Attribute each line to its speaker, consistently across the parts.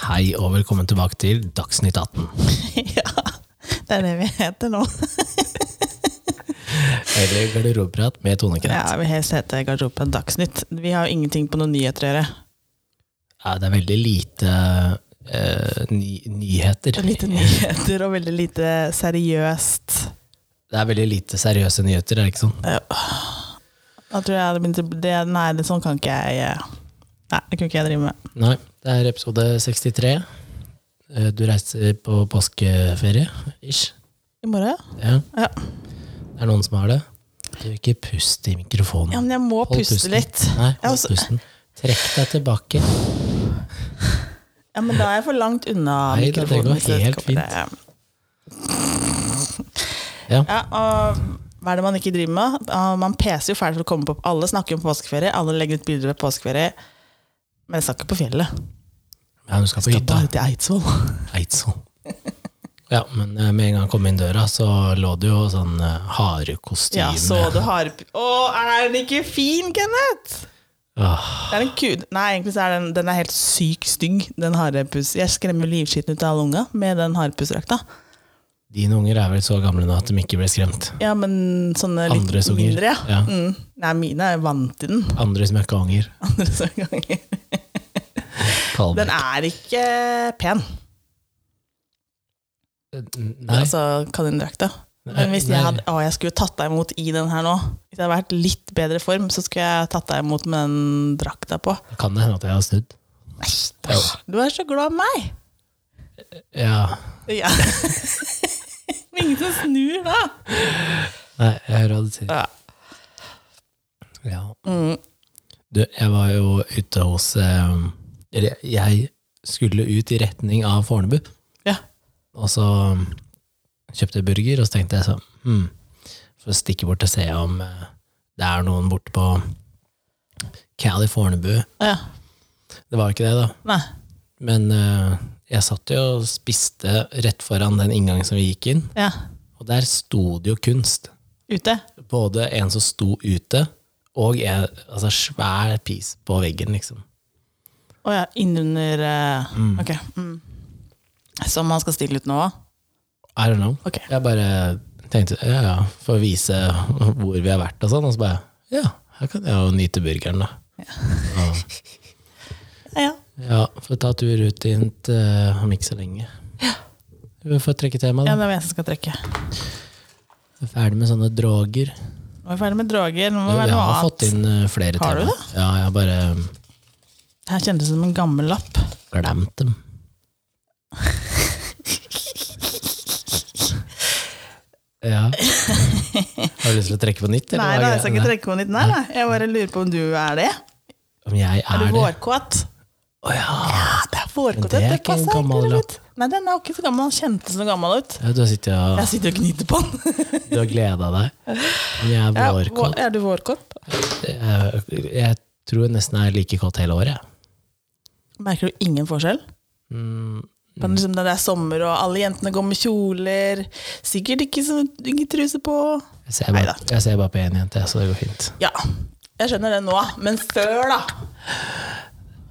Speaker 1: Hei og velkommen tilbake til Dagsnytt 18.
Speaker 2: Ja, det er det vi heter nå.
Speaker 1: Eller garderobeprat med Tone Krett.
Speaker 2: Ja, vi helst heter Garderoben Dagsnytt. Vi har jo ingenting på noen nyheter å gjøre.
Speaker 1: Ja, det er veldig lite eh, ny nyheter.
Speaker 2: Det er lite nyheter og veldig lite seriøst.
Speaker 1: Det er veldig lite seriøse nyheter, er det ikke sånn?
Speaker 2: Da tror jeg hadde begynt å- det, Nei, det sånn kan ikke jeg eh, Nei, det kunne ikke jeg drive med.
Speaker 1: Nei, det er episode 63. Eh, Du reiser på påskeferie, ish.
Speaker 2: I morgen?
Speaker 1: Ja,
Speaker 2: Ja.
Speaker 1: det er noen som har det. Du, ikke pust i mikrofonen.
Speaker 2: ja, men jeg må
Speaker 1: Hold
Speaker 2: puste
Speaker 1: pusten.
Speaker 2: litt.
Speaker 1: Nei,
Speaker 2: Ja,
Speaker 1: hold
Speaker 2: altså-
Speaker 1: pusten. Trekk deg tilbake.
Speaker 2: Ja, men da er jeg for langt unna
Speaker 1: Nei da, det går
Speaker 2: mikrofonen. hvis jeg
Speaker 1: helt
Speaker 2: skal bare-
Speaker 1: Ja.
Speaker 2: Ja, og hva er det man ikke driver med? Ah, Man peser jo fælt for å komme på Alle snakker om påskeferie, alle legger ut bilder ved påskeferie. Men jeg skal ikke på fjellet.
Speaker 1: Ja, du skal på
Speaker 2: Jeg
Speaker 1: hytta.
Speaker 2: skal bare til Eidsvoll.
Speaker 1: Eidsvoll. Ja, men eh, med en gang jeg kom inn døra, så lå det jo sånn eh, harekostyme.
Speaker 2: Ja, så du harp... Å, er den ikke fin, Kenneth?
Speaker 1: Åh,
Speaker 2: Det er en ku... Nei, egentlig så er den, den er helt syk stygg, den harepus. Jeg skremmer livskiten ut av alle unga med den harepusdrakta.
Speaker 1: dine unger er vel så gamle nå at de ikke blir skremt.
Speaker 2: Ja, men sånne litt
Speaker 1: Andres unger,
Speaker 2: mindre, ja.
Speaker 1: ja.
Speaker 2: Mm. Nei, mine er vant til den.
Speaker 1: Andres møkkaunger.
Speaker 2: Andre som ganger. Den
Speaker 1: Kalvbekk.
Speaker 2: er ikke pen,
Speaker 1: Eh, Nei,
Speaker 2: altså kanindrakta. Men hvis
Speaker 1: Nei.
Speaker 2: jeg hadde Å, jeg skulle tatt deg imot i den her nå. Hvis jeg hadde vært litt bedre form, så skulle jeg tatt deg imot med den drakta på.
Speaker 1: det kan det hende at jeg har snudd. Jo.
Speaker 2: Du er så glad i meg!
Speaker 1: Ja.
Speaker 2: Ja. Men ingen som snur da.
Speaker 1: Nei, jeg hører hva du sier.
Speaker 2: Ja.
Speaker 1: Ja.
Speaker 2: Mm.
Speaker 1: Du, jeg var jo ute hos eh, Eller jeg skulle ut i retning av Fornebu.
Speaker 2: Ja.
Speaker 1: Og så um, kjøpte jeg burger, og så tenkte jeg sånn hmm, Får stikke bort og se om eh, det er noen borte på Cali Fornebu.
Speaker 2: ja.
Speaker 1: Det var jo ikke det, da.
Speaker 2: Nei.
Speaker 1: Men eh, jeg satt jo og spiste rett foran den inngangen som vi gikk inn,
Speaker 2: Ja.
Speaker 1: og der sto det jo kunst.
Speaker 2: Ute.
Speaker 1: Både en som sto ute, og en altså, svær pis på veggen, liksom.
Speaker 2: Å ja, innunder eh, Ok. Mm. Som man skal stille ut nå òg?
Speaker 1: I don't know.
Speaker 2: Ok.
Speaker 1: Jeg bare tenkte ja, ja, for å vise hvor vi har vært og sånn. Og så bare ja, her kan jeg jo nyte burgeren, da.
Speaker 2: Ja, ja.
Speaker 1: Ja, får ta tur ut dit eh, om ikke så lenge. Vi får trekke tema,
Speaker 2: ja,
Speaker 1: da.
Speaker 2: det er jeg som skal trekke.
Speaker 1: Ferdig med sånne droger.
Speaker 2: Nå er vi ferdig med droger. Nå
Speaker 1: Jo,
Speaker 2: må det være
Speaker 1: jeg
Speaker 2: noe
Speaker 1: har
Speaker 2: annet.
Speaker 1: fått inn eh, flere
Speaker 2: Har du
Speaker 1: tema. Ja, jeg har bare um,
Speaker 2: Her kjentes det som en gammel lapp.
Speaker 1: glemt dem. Ja. Har du lyst til å trekke på nytt? eller hva
Speaker 2: Nei da,
Speaker 1: er
Speaker 2: jeg skal ikke
Speaker 1: greia?
Speaker 2: trekke på nytt. Nei, nei. Jeg bare lurer på om du er det.
Speaker 1: Om jeg er,
Speaker 2: Er du
Speaker 1: det?
Speaker 2: vårkåt?
Speaker 1: Å ja.
Speaker 2: Ja, det er vårkåt.
Speaker 1: Men det er
Speaker 2: Det
Speaker 1: ikke en
Speaker 2: passer ikke
Speaker 1: gammel
Speaker 2: litt.
Speaker 1: lapp.
Speaker 2: Nei, den er jo ikke så gammel. Den kjentes så gammel ut.
Speaker 1: ja! Du har sittet og
Speaker 2: Jeg sitter og gnitter på den.
Speaker 1: du har gleda deg. Om jeg er
Speaker 2: Ja,
Speaker 1: vårkåt
Speaker 2: vår- er du vårkåt?
Speaker 1: jeg, jeg tror jeg nesten er like kåt hele året. jeg.
Speaker 2: Merker du ingen forskjell?
Speaker 1: Mm,
Speaker 2: Men liksom når det er sommer, og alle jentene går med kjoler Sikkert ikke så ingen truse på.
Speaker 1: Jeg ser bare,
Speaker 2: Neida.
Speaker 1: jeg ser bare på én jente, jeg, så det går fint.
Speaker 2: Ja, jeg skjønner det nå, men før, da?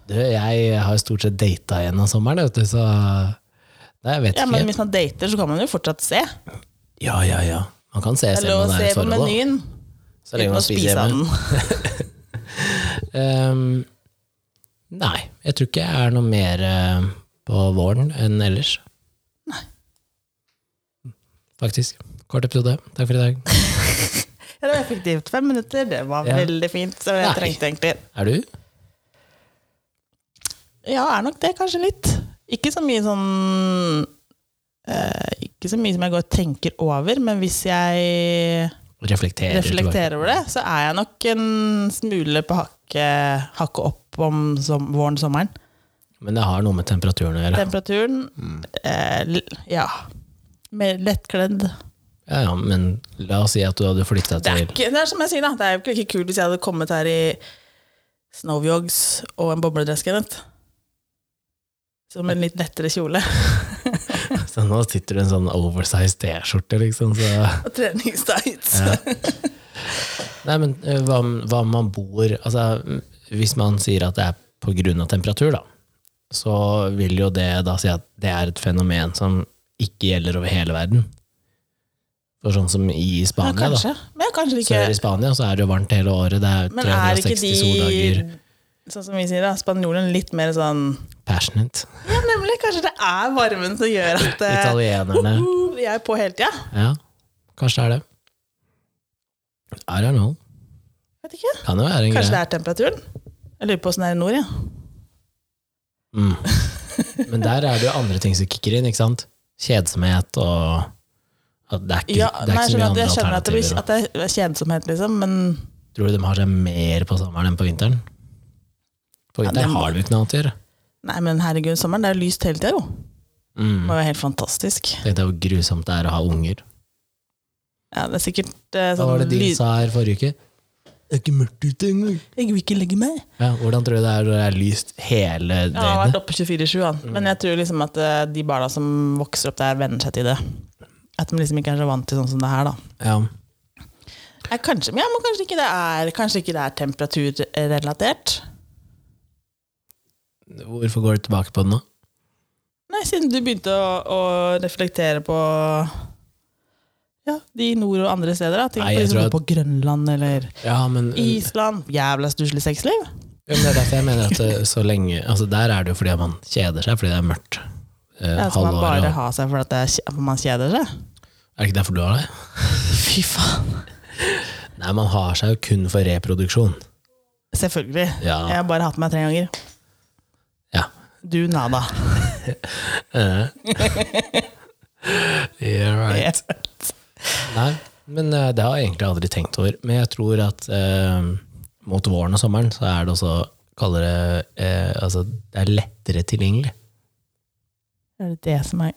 Speaker 1: Du, jeg har jo stort sett data gjennom sommeren, vet du, så Nei, jeg vet
Speaker 2: Ja, men
Speaker 1: ikke.
Speaker 2: Hvis man dater, så kan man jo fortsatt se.
Speaker 1: Ja, ja, ja. Man kan se
Speaker 2: Det er
Speaker 1: selv
Speaker 2: lov
Speaker 1: om
Speaker 2: å
Speaker 1: man er i
Speaker 2: se
Speaker 1: et
Speaker 2: på
Speaker 1: forhold, da.
Speaker 2: menyen
Speaker 1: Så lenge
Speaker 2: uten å
Speaker 1: man
Speaker 2: spise
Speaker 1: spiser
Speaker 2: av den.
Speaker 1: hjemme. Ehm, nei, jeg tror ikke jeg er noe mer eh, på våren enn ellers. Nei. Faktisk. Kort episode. Takk for i dag.
Speaker 2: Ja, det var effektivt. Fem minutter, det var
Speaker 1: Ja.
Speaker 2: veldig fint. Så jeg
Speaker 1: Nei.
Speaker 2: trengte egentlig
Speaker 1: Er du?
Speaker 2: Ja, er nok det, kanskje litt. Ikke så mye sånn eh, Ikke så mye som jeg går og tenker over, men hvis jeg
Speaker 1: Reflekterer.
Speaker 2: reflekterer over det, så er jeg nok en smule på hakket hakke opp om som, våren sommeren.
Speaker 1: Men det har noe med temperaturen å gjøre.
Speaker 2: Temperaturen eh, l- Ja. Mer lettkledd.
Speaker 1: Ja, ja, men la oss si at du hadde flytta
Speaker 2: Det er,
Speaker 1: til
Speaker 2: ikke, det er som jeg sier, da. Det er jo ikke like kult hvis jeg hadde kommet her i snowyogs og en bobledress. Kenneth. Som en litt lettere kjole.
Speaker 1: Så nå sitter du i en sånn oversized T-skjorte, liksom. Så.
Speaker 2: Og treningstights.
Speaker 1: Ja. Nei, men eh, hva om hva om man bor Altså, hvis man sier at det er på grunn av temperatur, da. så vil jo det da si at det er et fenomen som ikke gjelder over hele verden. For sånn som i
Speaker 2: Ja,
Speaker 1: Spania, da.
Speaker 2: kanskje. Men kanskje det ikke
Speaker 1: Sør i Spania så er det jo varmt hele året. Det er
Speaker 2: Men er ikke
Speaker 1: 360 soldager.
Speaker 2: de Sånn som vi sier da, spanjolene litt mer sånn
Speaker 1: Passionate.
Speaker 2: Ja, nemlig. Kanskje det er varmen som gjør at eh,
Speaker 1: Italienerne.
Speaker 2: «Woho, vi er på hele tida.
Speaker 1: Ja, kanskje det er det. I don't know.
Speaker 2: Vet ikke.
Speaker 1: Kan jo være en
Speaker 2: Kanskje det
Speaker 1: greie.
Speaker 2: er temperaturen? Jeg lurer på åssen det er i nord, ja.
Speaker 1: Mm. Men der er det jo andre ting som kicker inn, ikke sant? Kjedsomhet og at Det er ikke,
Speaker 2: ja
Speaker 1: det er
Speaker 2: nei,
Speaker 1: ikke
Speaker 2: jeg
Speaker 1: så
Speaker 2: skjønner
Speaker 1: mye
Speaker 2: at
Speaker 1: andre
Speaker 2: jeg skjønner at det,
Speaker 1: alternativer.
Speaker 2: blir,
Speaker 1: og-
Speaker 2: at det er kjedsomhet, liksom, men
Speaker 1: Tror du de har seg mer på sommeren enn på vinteren? På
Speaker 2: Ja,
Speaker 1: vinteren
Speaker 2: det må-
Speaker 1: har de jo ikke noe annet å gjøre.
Speaker 2: Nei, men herregud, sommeren det er jo lyst hele tida, jo. Det
Speaker 1: Mm.
Speaker 2: var jo helt fantastisk.
Speaker 1: Tenk deg hvor grusomt det er å ha unger.
Speaker 2: Ja, det er sikkert eh,
Speaker 1: Hva var
Speaker 2: sånn
Speaker 1: det din
Speaker 2: lyd...
Speaker 1: sa her forrige uke? Det er ikke mørkt ute engang.
Speaker 2: Jeg vil ikke legge meg.
Speaker 1: Ja, hvordan tror du det er når det er lyst hele
Speaker 2: Jeg har vært
Speaker 1: døgnet?
Speaker 2: oppe 24-7, han.
Speaker 1: Mm.
Speaker 2: men jeg tror liksom at eh, de barna som vokser opp der, venner seg til det. At de liksom ikke er så vant til sånn som det her, da.
Speaker 1: Ja.
Speaker 2: Nei, kanskje, men ja, men kanskje ikke det er, kanskje ikke det er temperaturrelatert.
Speaker 1: Hvorfor går du tilbake på det nå?
Speaker 2: Nei, siden du begynte å, å reflektere på ja, de i nord og andre steder. Da. Tenk
Speaker 1: Nei,
Speaker 2: på, de
Speaker 1: jeg
Speaker 2: som
Speaker 1: tror
Speaker 2: bor på Grønland eller
Speaker 1: Ja, men
Speaker 2: Island. Jævla stusslig sexliv.
Speaker 1: Ja, men det er derfor jeg mener at eh, så lenge altså Der er det jo fordi man kjeder seg, fordi det er mørkt. eh,
Speaker 2: Ja, skal man
Speaker 1: halvåret,
Speaker 2: bare
Speaker 1: og-
Speaker 2: ha seg for at, det er, kje- for man kjeder seg?
Speaker 1: Er det ikke derfor du har det?
Speaker 2: Fy faen.
Speaker 1: Nei, man har seg jo kun for reproduksjon.
Speaker 2: Selvfølgelig.
Speaker 1: Ja.
Speaker 2: Jeg har bare hatt meg tre ganger.
Speaker 1: Ja.
Speaker 2: Du nada.
Speaker 1: Eh. yeah, right. Nei, men eh, det har jeg egentlig aldri tenkt over. Men jeg tror at eh, mot våren og sommeren så er det også kaldere eh, Altså, det er lettere tilgjengelig.
Speaker 2: Er det det som er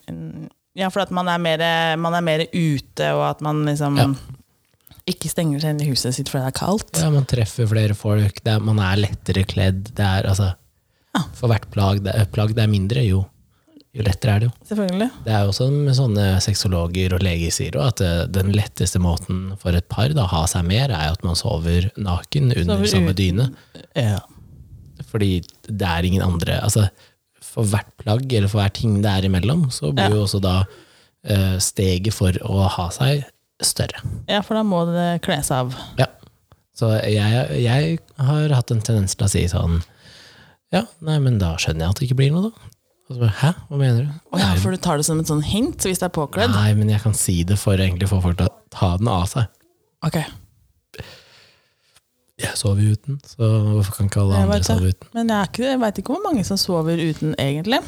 Speaker 2: Ja, for at man er mer, man er mer ute, og at man liksom
Speaker 1: Ja.
Speaker 2: ikke stenger seg inn i huset sitt fordi det er kaldt.
Speaker 1: Ja, man treffer flere folk, det er, man er lettere kledd. Det er altså
Speaker 2: Ja.
Speaker 1: For hvert plagg det, plagg det er mindre, jo, jo lettere er det jo.
Speaker 2: Selvfølgelig.
Speaker 1: Det er jo også med sånne sexologer og leger sier jo at eh, den letteste måten for et par da, å ha seg mer, er jo at man sover naken under
Speaker 2: Sover
Speaker 1: samme
Speaker 2: ut.
Speaker 1: dyne.
Speaker 2: Ja.
Speaker 1: Fordi det er ingen andre altså, For hvert plagg eller for hver ting det er imellom, så blir jo også da eh, steget for å ha seg større.
Speaker 2: for da må det kles av.
Speaker 1: Ja. Så jeg, jeg har hatt en tendens til å si sånn Ja, nei, men da skjønner jeg at det ikke blir noe, da. Og så bare, Hæ, hva mener du?
Speaker 2: Å ja, for du tar det som et sånn hint hvis det er påkledd?
Speaker 1: Nei, men jeg kan si det for egentlig å få folk til å ta den av seg.
Speaker 2: Ok,
Speaker 1: Jeg sover jo uten, så hvorfor kan ikke alle
Speaker 2: Jeg
Speaker 1: andre
Speaker 2: vet det.
Speaker 1: sove uten?
Speaker 2: Men jeg, er ikke, jeg veit ikke hvor mange som sover uten, egentlig.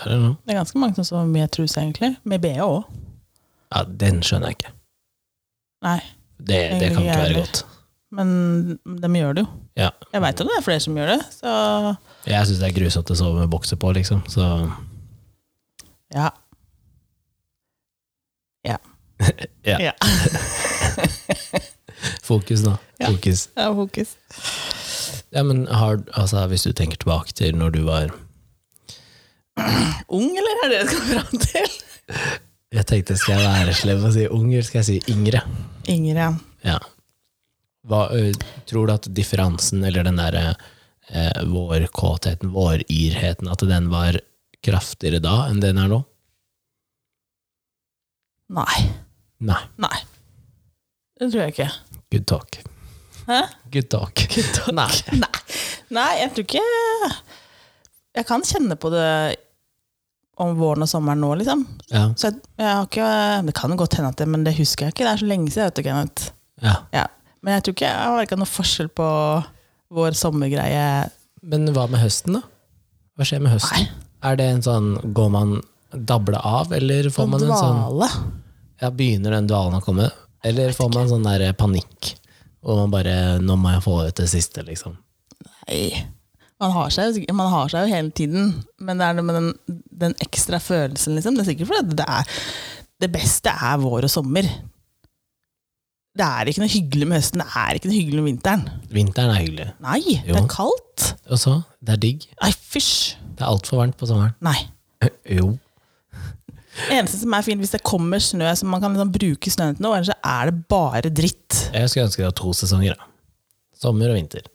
Speaker 1: Er det noe?
Speaker 2: Det er ganske mange som sover med truse, egentlig. Med BH òg.
Speaker 1: Ja, den skjønner jeg ikke.
Speaker 2: Nei,
Speaker 1: Det, det kan
Speaker 2: Egentlig
Speaker 1: ikke være
Speaker 2: jævlig.
Speaker 1: godt.
Speaker 2: men de gjør det jo.
Speaker 1: Ja.
Speaker 2: Jeg veit at det er flere som gjør det, så
Speaker 1: Jeg syns det er grusomt å sove med bokser på, liksom. Så
Speaker 2: ja.
Speaker 1: Ja.
Speaker 2: ja.
Speaker 1: fokus, da.
Speaker 2: Ja.
Speaker 1: Fokus.
Speaker 2: Det er fokus.
Speaker 1: Ja, men har, altså, hvis du tenker tilbake til når du var
Speaker 2: Ung, eller er det det jeg skal fram til?
Speaker 1: Jeg tenkte, skal jeg være slem og si ung, eller skal jeg si yngre?
Speaker 2: Yngre,
Speaker 1: Ja.
Speaker 2: ja.
Speaker 1: Hva, ø, tror du at differansen, eller den derre eh, vårkåtheten, våryrheten, at den var kraftigere da enn den er nå?
Speaker 2: Nei.
Speaker 1: Nei.
Speaker 2: Nei. Det tror jeg ikke.
Speaker 1: Good talk.
Speaker 2: Hæ?
Speaker 1: Good talk. Nei.
Speaker 2: Nei. Nei, jeg tror ikke Jeg kan kjenne på det om våren og sommeren nå, liksom.
Speaker 1: Ja.
Speaker 2: Så jeg, jeg har ikke Det kan jo godt hende at det, men det husker jeg ikke. Det er så lenge siden, vet du, Kenneth.
Speaker 1: ja.
Speaker 2: Ja. Men jeg tror ikke jeg har merka noe forskjell på vår sommergreie.
Speaker 1: Men hva med høsten, da? Hva skjer med høsten? Er det en sånn Går man dabla av, eller får man en sånn
Speaker 2: Dvale.
Speaker 1: ja, Begynner den dvalen å komme? Eller får man sånn der panikk? Og man bare Nå må jeg få ut det siste, liksom.
Speaker 2: Nei. Man har, seg, jo- man har seg jo hele tiden, men det er noe med den, den ekstra følelsen, liksom. Det er sikkert fordi det er Det beste er vår og sommer. Det er ikke noe hyggelig med høsten, det er ikke noe hyggelig med vinteren.
Speaker 1: Vinteren er hyggelig.
Speaker 2: Nei, det
Speaker 1: Jo.
Speaker 2: er kaldt.
Speaker 1: Og så, det er digg.
Speaker 2: Nei, fysj.
Speaker 1: Det er altfor varmt på sommeren.
Speaker 2: Nei.
Speaker 1: Jo.
Speaker 2: Det eneste som er fint, hvis det kommer snø som man kan liksom bruke snøen til noe, ellers så er det bare dritt.
Speaker 1: Jeg skulle ønske det var to sesonger. da. Sommer og vinter.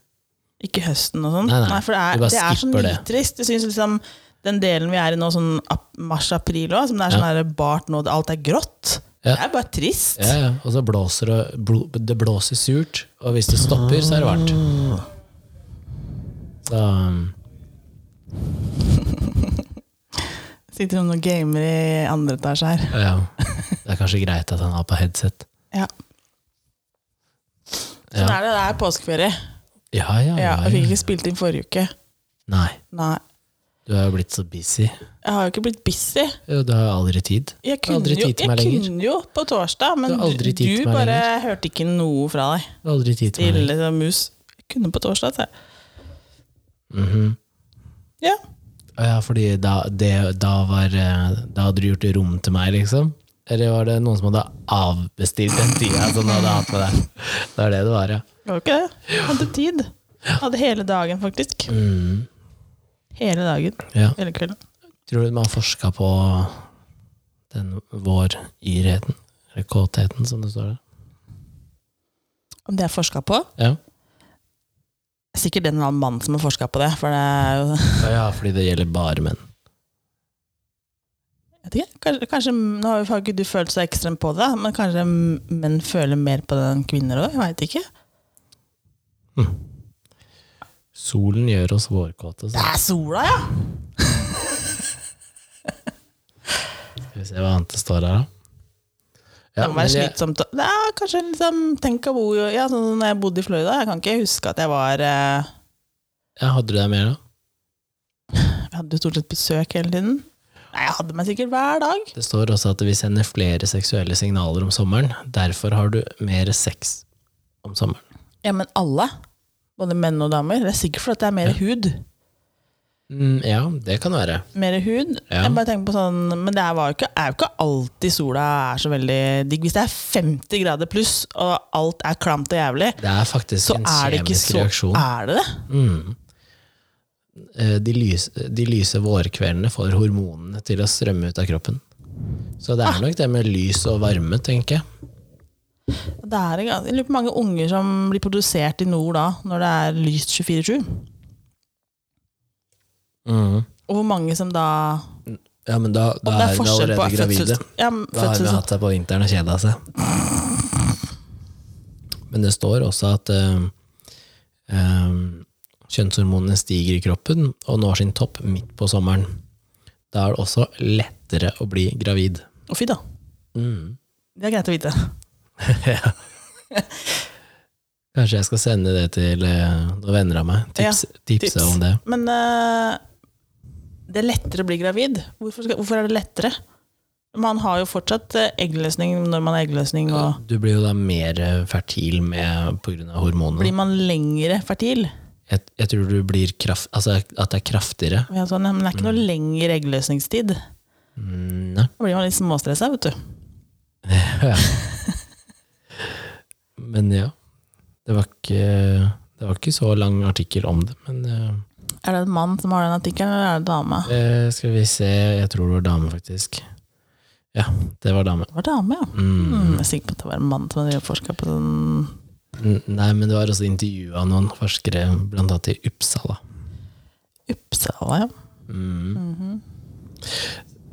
Speaker 2: Ikke høsten og sånn.
Speaker 1: Nei, nei.
Speaker 2: for det
Speaker 1: Du
Speaker 2: er,
Speaker 1: bare
Speaker 2: det er så
Speaker 1: skipper det.
Speaker 2: nitrist. Jeg synes liksom den delen vi er i nå, sånn ap- mars-april òg, som det er sånn her bart nå, alt er grått.
Speaker 1: Ja.
Speaker 2: Det er bare trist.
Speaker 1: Ja, ja. Og så blåser det, blo, det blåser surt, og hvis det stopper, så er det varmt. Ah. Så um,
Speaker 2: Sitter det noen gamer i andre etasje her.
Speaker 1: ja. Det er kanskje greit at han har på headset.
Speaker 2: Ja.
Speaker 1: Ja,
Speaker 2: Sånn er det. Det er påskeferie.
Speaker 1: ja, ja.
Speaker 2: Ja,
Speaker 1: ja,
Speaker 2: jeg fikk
Speaker 1: ja.
Speaker 2: ikke spilt inn forrige uke.
Speaker 1: Nei,
Speaker 2: Nei.
Speaker 1: du er jo blitt så busy.
Speaker 2: Jeg har jo ikke blitt busy.
Speaker 1: Jo, Du har jo aldri tid.
Speaker 2: Jeg
Speaker 1: Du har
Speaker 2: kunne,
Speaker 1: aldri
Speaker 2: jo,
Speaker 1: tid til
Speaker 2: jeg
Speaker 1: meg lenger.
Speaker 2: kunne jo på torsdag, men
Speaker 1: Du har
Speaker 2: du,
Speaker 1: aldri tid til meg
Speaker 2: bare hørte ikke noe fra deg.
Speaker 1: Du har aldri tid til meg lenger.
Speaker 2: Stille som sånn mus. Jeg kunne på torsdag, sa jeg.
Speaker 1: Mhm.
Speaker 2: Ja.
Speaker 1: Ja, fordi da, det, da, var, eh, da hadde du gjort rom til meg, liksom? Eller var det noen som hadde avbestilt den tida som du hadde hatt med deg? Det var det det var, ja.
Speaker 2: Var det ikke det? Hadde tid. Hadde hele dagen, faktisk.
Speaker 1: Mm,
Speaker 2: Hele dagen.
Speaker 1: ja.
Speaker 2: Hele kvelden.
Speaker 1: Tror du man har forska på den vår-yrheten? Eller kåtheten, som det står der?
Speaker 2: Om det er forska på?
Speaker 1: Ja.
Speaker 2: Sikkert en eller annen mann som har forska på det. For det er jo
Speaker 1: ja, fordi det gjelder bare menn.
Speaker 2: jeg vet ikke, kanskje, kanskje, Nå har jo ikke du følt så ekstremt på det, da, men kanskje menn føler mer på det enn kvinner òg? Jeg veit ikke.
Speaker 1: Solen gjør oss vårkåte.
Speaker 2: Det
Speaker 1: Så
Speaker 2: er sola, ja!
Speaker 1: skal vi se hva annet det står her, da.
Speaker 2: Det
Speaker 1: Ja,
Speaker 2: må
Speaker 1: men
Speaker 2: være
Speaker 1: jeg,
Speaker 2: slitsomt. å- Det er kanskje liksom Tenk å bo jo ja, sånn som når jeg bodde i Florida. Jeg kan ikke huske at jeg var eh,
Speaker 1: jeg hadde du deg mer da?
Speaker 2: Jeg hadde jo stort sett besøk hele tiden. Nei, jeg hadde meg sikkert hver dag.
Speaker 1: Det står også at vi sender flere seksuelle signaler om sommeren. Derfor har du mer sex om sommeren.
Speaker 2: Ja, men alle. Både menn og damer. Det er sikkert fordi det er mer hud.
Speaker 1: Mm, ja, det kan være.
Speaker 2: Mer hud.
Speaker 1: Ja.
Speaker 2: Jeg bare tenker på sånn Men det er, var jo ikke, er jo ikke alltid sola er så veldig digg. Hvis det er 50 grader pluss, og alt er klamt og jævlig,
Speaker 1: Det er faktisk
Speaker 2: så
Speaker 1: en
Speaker 2: er det ikke
Speaker 1: kjemisk
Speaker 2: så
Speaker 1: reaksjon.
Speaker 2: Er det det?
Speaker 1: Mm. Eh, De, lys, de lyse vårkveldene får hormonene til å strømme ut av kroppen. Så det er
Speaker 2: Ah.
Speaker 1: nok det med lys og varme, tenker jeg.
Speaker 2: Det er, ikke- jeg lurer på hvor mange unger som blir produsert i nord da, når det er lyst 24-7. Og hvor mange som da
Speaker 1: Ja, men da,
Speaker 2: Om
Speaker 1: da
Speaker 2: det
Speaker 1: er hun
Speaker 2: forskjell
Speaker 1: allerede
Speaker 2: på
Speaker 1: gravide.
Speaker 2: fødsels- Ja, men
Speaker 1: Da har hun
Speaker 2: fødsels-
Speaker 1: hatt seg på vinteren og kjeda seg. Men det står også at eh, eh, kjønnshormonene stiger i kroppen og når sin topp midt på sommeren. Da er det også lettere å bli gravid.
Speaker 2: Å, fy da.
Speaker 1: Mm.
Speaker 2: Det er greit å vite.
Speaker 1: Ja. Kanskje jeg skal sende det til eh, noen venner av meg. Tips, tipse
Speaker 2: tips.
Speaker 1: om det.
Speaker 2: Men eh, det er lettere å bli gravid. Hvorfor, skal, hvorfor er det lettere? Man har jo fortsatt eh, eggløsning når man har eggløsning, og
Speaker 1: Du blir jo da mer eh, fertil med, på grunn av hormonene.
Speaker 2: blir man lengre fertil?
Speaker 1: Jeg, jeg tror du blir kraft, altså at det er kraftigere.
Speaker 2: Ja, sånn, ja, men det er ikke noe lengre eggløsningstid. Da
Speaker 1: Mm, nei.
Speaker 2: blir man litt småstressa, vet du.
Speaker 1: Men ja. Det var ikke, det var ikke så lang artikkel om det. Men
Speaker 2: Er det en mann som har den artikkelen, eller er det dame?
Speaker 1: eh, eh, skal vi se Jeg tror det var dame, faktisk. Ja, det var dame.
Speaker 2: Det var dame, ja.
Speaker 1: Mm.
Speaker 2: Mm, jeg er sikker på at det var en mann som hadde forska på sånn
Speaker 1: N- Nei, men det var også intervju av noen forskere, blant annet i Uppsala.
Speaker 2: Uppsala, ja.
Speaker 1: Mm.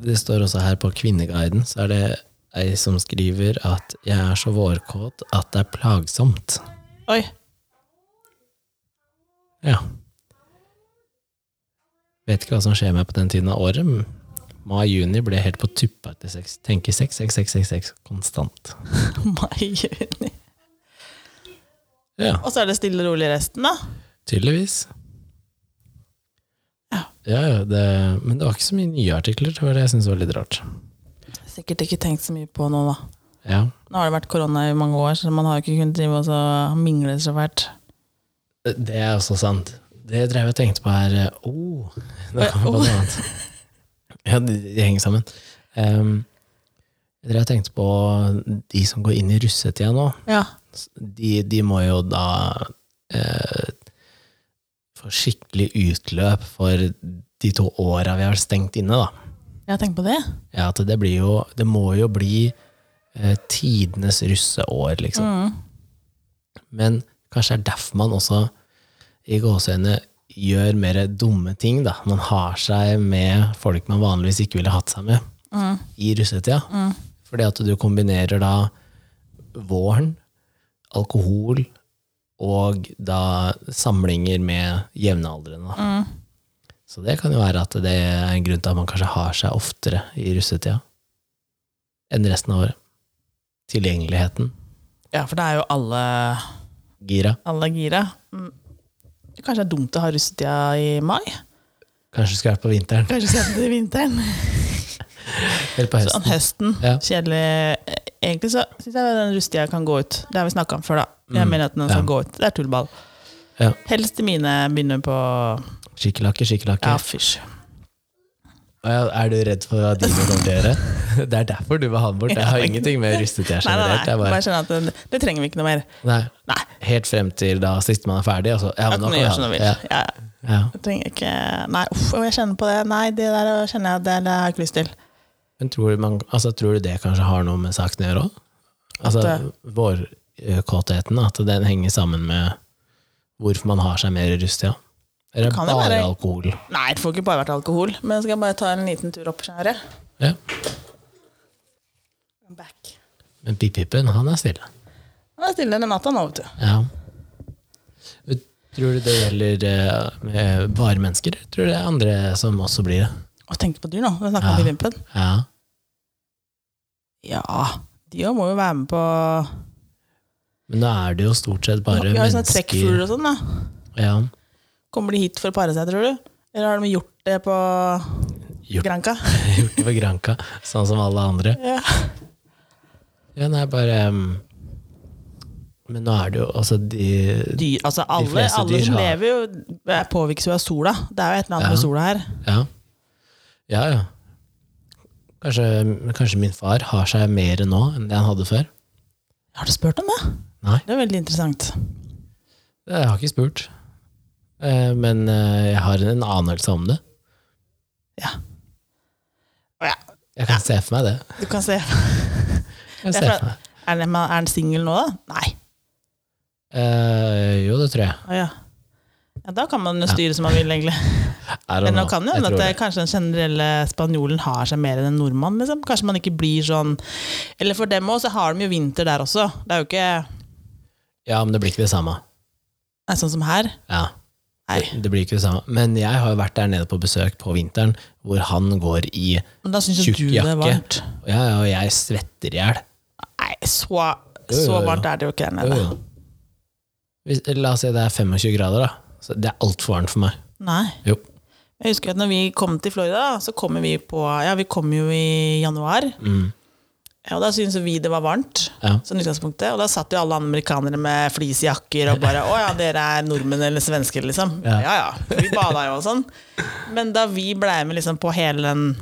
Speaker 1: Det står også her på Kvinneguiden, så er det ei som skriver at 'jeg er så vårkåt at det er plagsomt'.
Speaker 2: Oi.
Speaker 1: Ja. Vet ikke hva som skjer med meg på den tiden av året. men Mai-juni ble helt på tuppa etter sex. Tenker sex, sex, sex, sex, sex konstant.
Speaker 2: Mai, juni.
Speaker 1: Ja,
Speaker 2: Og så er det stille og rolig resten, da.
Speaker 1: tydeligvis.
Speaker 2: Ja.
Speaker 1: Ja, ja, det, men det var ikke så mye nye artikler. Det var det jeg syntes var litt rart.
Speaker 2: Sikkert ikke tenkt så mye på nå, da.
Speaker 1: Ja.
Speaker 2: Nå har det vært korona i mange år, så man har jo ikke kunnet drive og så mingle så fælt.
Speaker 1: Det er også sant. Det drev jeg og tenkte på her eh, oh, Nå kom jeg på
Speaker 2: Oh.
Speaker 1: noe annet. Ja, de, de henger sammen. Ehm, jeg drev og tenkte på de som går inn i russetida nå.
Speaker 2: Ja.
Speaker 1: De, de må jo da eh, få skikkelig utløp for de to åra vi har vært stengt inne, da.
Speaker 2: Jeg tenker på det.
Speaker 1: Ja, at det blir jo Det må jo bli eh, tidenes russeår, liksom.
Speaker 2: Mm.
Speaker 1: Men kanskje det er derfor man også i gåseøynene gjør mer dumme ting. Da. Man har seg med folk man vanligvis ikke ville hatt seg med
Speaker 2: mm,
Speaker 1: i russetida. Fordi at du kombinerer da våren, alkohol og da samlinger med jevnaldrende. da.
Speaker 2: mm.
Speaker 1: Så det kan jo være at det er en grunn til at man kanskje har seg oftere i russetida enn resten av året. Tilgjengeligheten.
Speaker 2: Ja, for da er jo alle,
Speaker 1: Gira.
Speaker 2: alle gira. Mm. Kanskje det er dumt å ha russetida i mai?
Speaker 1: Kanskje du skal være på vinteren
Speaker 2: Kanskje sette det i vinteren?
Speaker 1: eller på
Speaker 2: Sånn
Speaker 1: høsten.
Speaker 2: høsten.
Speaker 1: Ja.
Speaker 2: Kjedelig. Egentlig så syns jeg den russetida kan gå ut. Det har vi snakka om før, da. Jeg
Speaker 1: Mm,
Speaker 2: mener at den skal
Speaker 1: ja.
Speaker 2: gå ut. Det er tullball.
Speaker 1: Ja.
Speaker 2: Helst de mine begynner på
Speaker 1: Skikkelakke, skikkelakke.
Speaker 2: Ja, fysj.
Speaker 1: Å ja, Er du redd for hva dine kommer til å gjøre? Det er derfor du vil ha den bort. Det har ingenting med russetida
Speaker 2: Nei, nei, nei.
Speaker 1: generelt. Det er
Speaker 2: Bare
Speaker 1: bare,
Speaker 2: skjønner at det, det trenger vi ikke noe mer.
Speaker 1: nei,
Speaker 2: Nei.
Speaker 1: helt frem til da siste man er ferdig. Altså, ja,
Speaker 2: Jeg
Speaker 1: men nå kan
Speaker 2: kan
Speaker 1: vi
Speaker 2: gjøre
Speaker 1: ha
Speaker 2: sånn som du
Speaker 1: den.
Speaker 2: vil.
Speaker 1: Ja,
Speaker 2: Ja.
Speaker 1: ja.
Speaker 2: Jeg trenger ikke Nei, uff, og jeg kjenner på det. Nei, det der kjenner jeg at det, det har jeg ikke lyst til.
Speaker 1: Men tror, du man, altså, tror du det kanskje har noe med saken å gjøre òg? Altså,
Speaker 2: At eh,
Speaker 1: Vårkåtheten, at den henger sammen med hvorfor man har seg mer i russetida? Eller
Speaker 2: Det kan jo
Speaker 1: bare
Speaker 2: være-
Speaker 1: alkohol?
Speaker 2: Nei, det får ikke bare vært alkohol. Men skal jeg bare ta en liten tur opp skjæret?
Speaker 1: Ja.
Speaker 2: I'm Back.
Speaker 1: Men Pip-Pippen, han er stille.
Speaker 2: Nå er stille denne natta nå, vet du.
Speaker 1: Ja. Tror du det gjelder eh, eh, bare mennesker? eller Tror du det er andre som også blir det?
Speaker 2: Og tenk på dyr nå. Vi snakker
Speaker 1: Ja.
Speaker 2: om pimpen.
Speaker 1: Ja.
Speaker 2: Ja, de òg må jo være med på
Speaker 1: Men nå er det jo stort sett bare
Speaker 2: Vi har jo sånne
Speaker 1: mennesker.
Speaker 2: trekkfugler og sånn, da.
Speaker 1: Ja.
Speaker 2: Kommer de hit for å pare seg, tror du? Eller har de gjort det på
Speaker 1: Gjort.
Speaker 2: Granca?
Speaker 1: Gjort det på Granka, sånn som alle andre.
Speaker 2: Ja.
Speaker 1: Ja, nei, bare em, Men nå er det jo altså de
Speaker 2: Dyr, altså alle,
Speaker 1: fleste
Speaker 2: alle
Speaker 1: dyr
Speaker 2: som
Speaker 1: har-
Speaker 2: lever, jo, er- påvirkes jo av sola. Det er jo et eller annet
Speaker 1: Ja.
Speaker 2: med sola her.
Speaker 1: Ja, ja. ja. Kanskje, kanskje min far har seg mer nå enn det han hadde før?
Speaker 2: Har du spurt om det?
Speaker 1: Nei,
Speaker 2: Det er veldig interessant.
Speaker 1: jeg har ikke spurt. Eh, Men eh, jeg har en anelse om det.
Speaker 2: Ja. Å ja,
Speaker 1: Jeg kan se for meg det.
Speaker 2: du kan se.
Speaker 1: Jeg kan
Speaker 2: Det
Speaker 1: se for
Speaker 2: er, fra,
Speaker 1: meg.
Speaker 2: er, den- er han singel nå, da? Nei.
Speaker 1: Eh, jo, det tror jeg.
Speaker 2: Å ja. ja. Da kan man jo styre som man vil, egentlig.
Speaker 1: I don't
Speaker 2: Men nå
Speaker 1: know.
Speaker 2: kan det
Speaker 1: Jeg
Speaker 2: hende at
Speaker 1: tror
Speaker 2: det, kanskje den generelle spanjolen har seg mer enn en nordmann. Liksom. Kanskje man ikke blir sånn Eller for dem òg, så har de jo vinter der også. Det er jo ikke
Speaker 1: Ja, men det blir ikke det samme.
Speaker 2: nei, sånn som her.
Speaker 1: Ja.
Speaker 2: Nei.
Speaker 1: Det, det blir ikke det samme. Men jeg har jo vært der nede på besøk på vinteren, hvor han går i
Speaker 2: Men da syns jo
Speaker 1: Tjukk
Speaker 2: du det er
Speaker 1: jakke.
Speaker 2: varmt.
Speaker 1: Ja, ja, og jeg svetter i hjel.
Speaker 2: Nei, så,
Speaker 1: Jo, jo,
Speaker 2: så
Speaker 1: jo.
Speaker 2: varmt er det jo ikke der
Speaker 1: Jo,
Speaker 2: nede.
Speaker 1: jo. Hvis, la oss si det er 25 grader, da. Så det er altfor varmt for meg.
Speaker 2: Nei.
Speaker 1: Jo.
Speaker 2: Jeg husker at når vi kom til Florida, så kommer vi på Ja, vi kom jo i januar,
Speaker 1: Mm.
Speaker 2: ja, og da syntes vi det var varmt.
Speaker 1: Ja.
Speaker 2: Sånn i utgangspunktet, Og da satt jo alle amerikanere med fleecejakker og bare 'Å ja, dere er nordmenn eller svensker', liksom. Ja
Speaker 1: Ja.
Speaker 2: ja, vi bada jo og sånn. Men da vi blei med liksom på hele den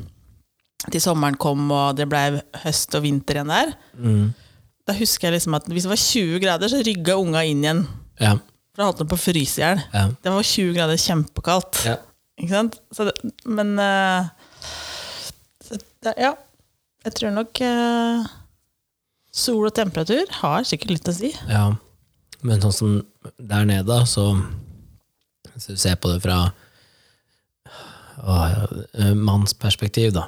Speaker 2: til sommeren kom, og det blei høst og vinter igjen der,
Speaker 1: Mm.
Speaker 2: da husker jeg liksom at hvis det var 20 grader, så rygga unga inn igjen.
Speaker 1: Ja.
Speaker 2: For da holdt de på å fryse i hjel.
Speaker 1: Ja.
Speaker 2: Det var 20 grader kjempekaldt.
Speaker 1: Ja.
Speaker 2: Ikke sant? Så det, men eh, så det, Ja. Jeg tror nok eh, sol og temperatur har sikkert litt å si.
Speaker 1: ja. Men sånn som der nede, da, så Hvis du ser på det fra å, eh, mannsperspektiv, da.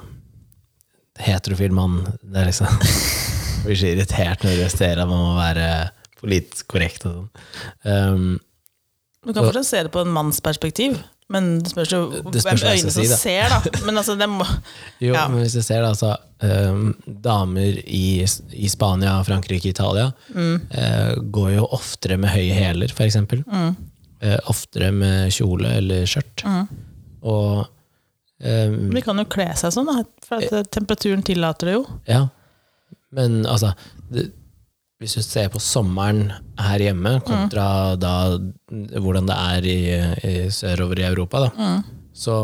Speaker 1: Heterofil mann, det er liksom Blir så irritert når du ser at man må være politisk korrekt og sånn. Um,
Speaker 2: Du kan fortsatt se det på en manns perspektiv, men det spørs jo
Speaker 1: Det spørs
Speaker 2: hvem
Speaker 1: hva jeg
Speaker 2: øynene
Speaker 1: skal si,
Speaker 2: som
Speaker 1: da.
Speaker 2: ser, da. Men altså, det må
Speaker 1: Jo,
Speaker 2: Ja.
Speaker 1: men hvis du ser da, så ehm, damer i, i Spania, Frankrike, Italia eh, går jo oftere med høye hæler, for eksempel. Eh, oftere med kjole eller skjørt. Og ehm,
Speaker 2: De kan jo kle seg sånn, da. For at eh, temperaturen tillater det jo.
Speaker 1: ja. Men altså, det, hvis du ser på sommeren her hjemme kontra da hvordan det er i, i sørover i Europa, da, så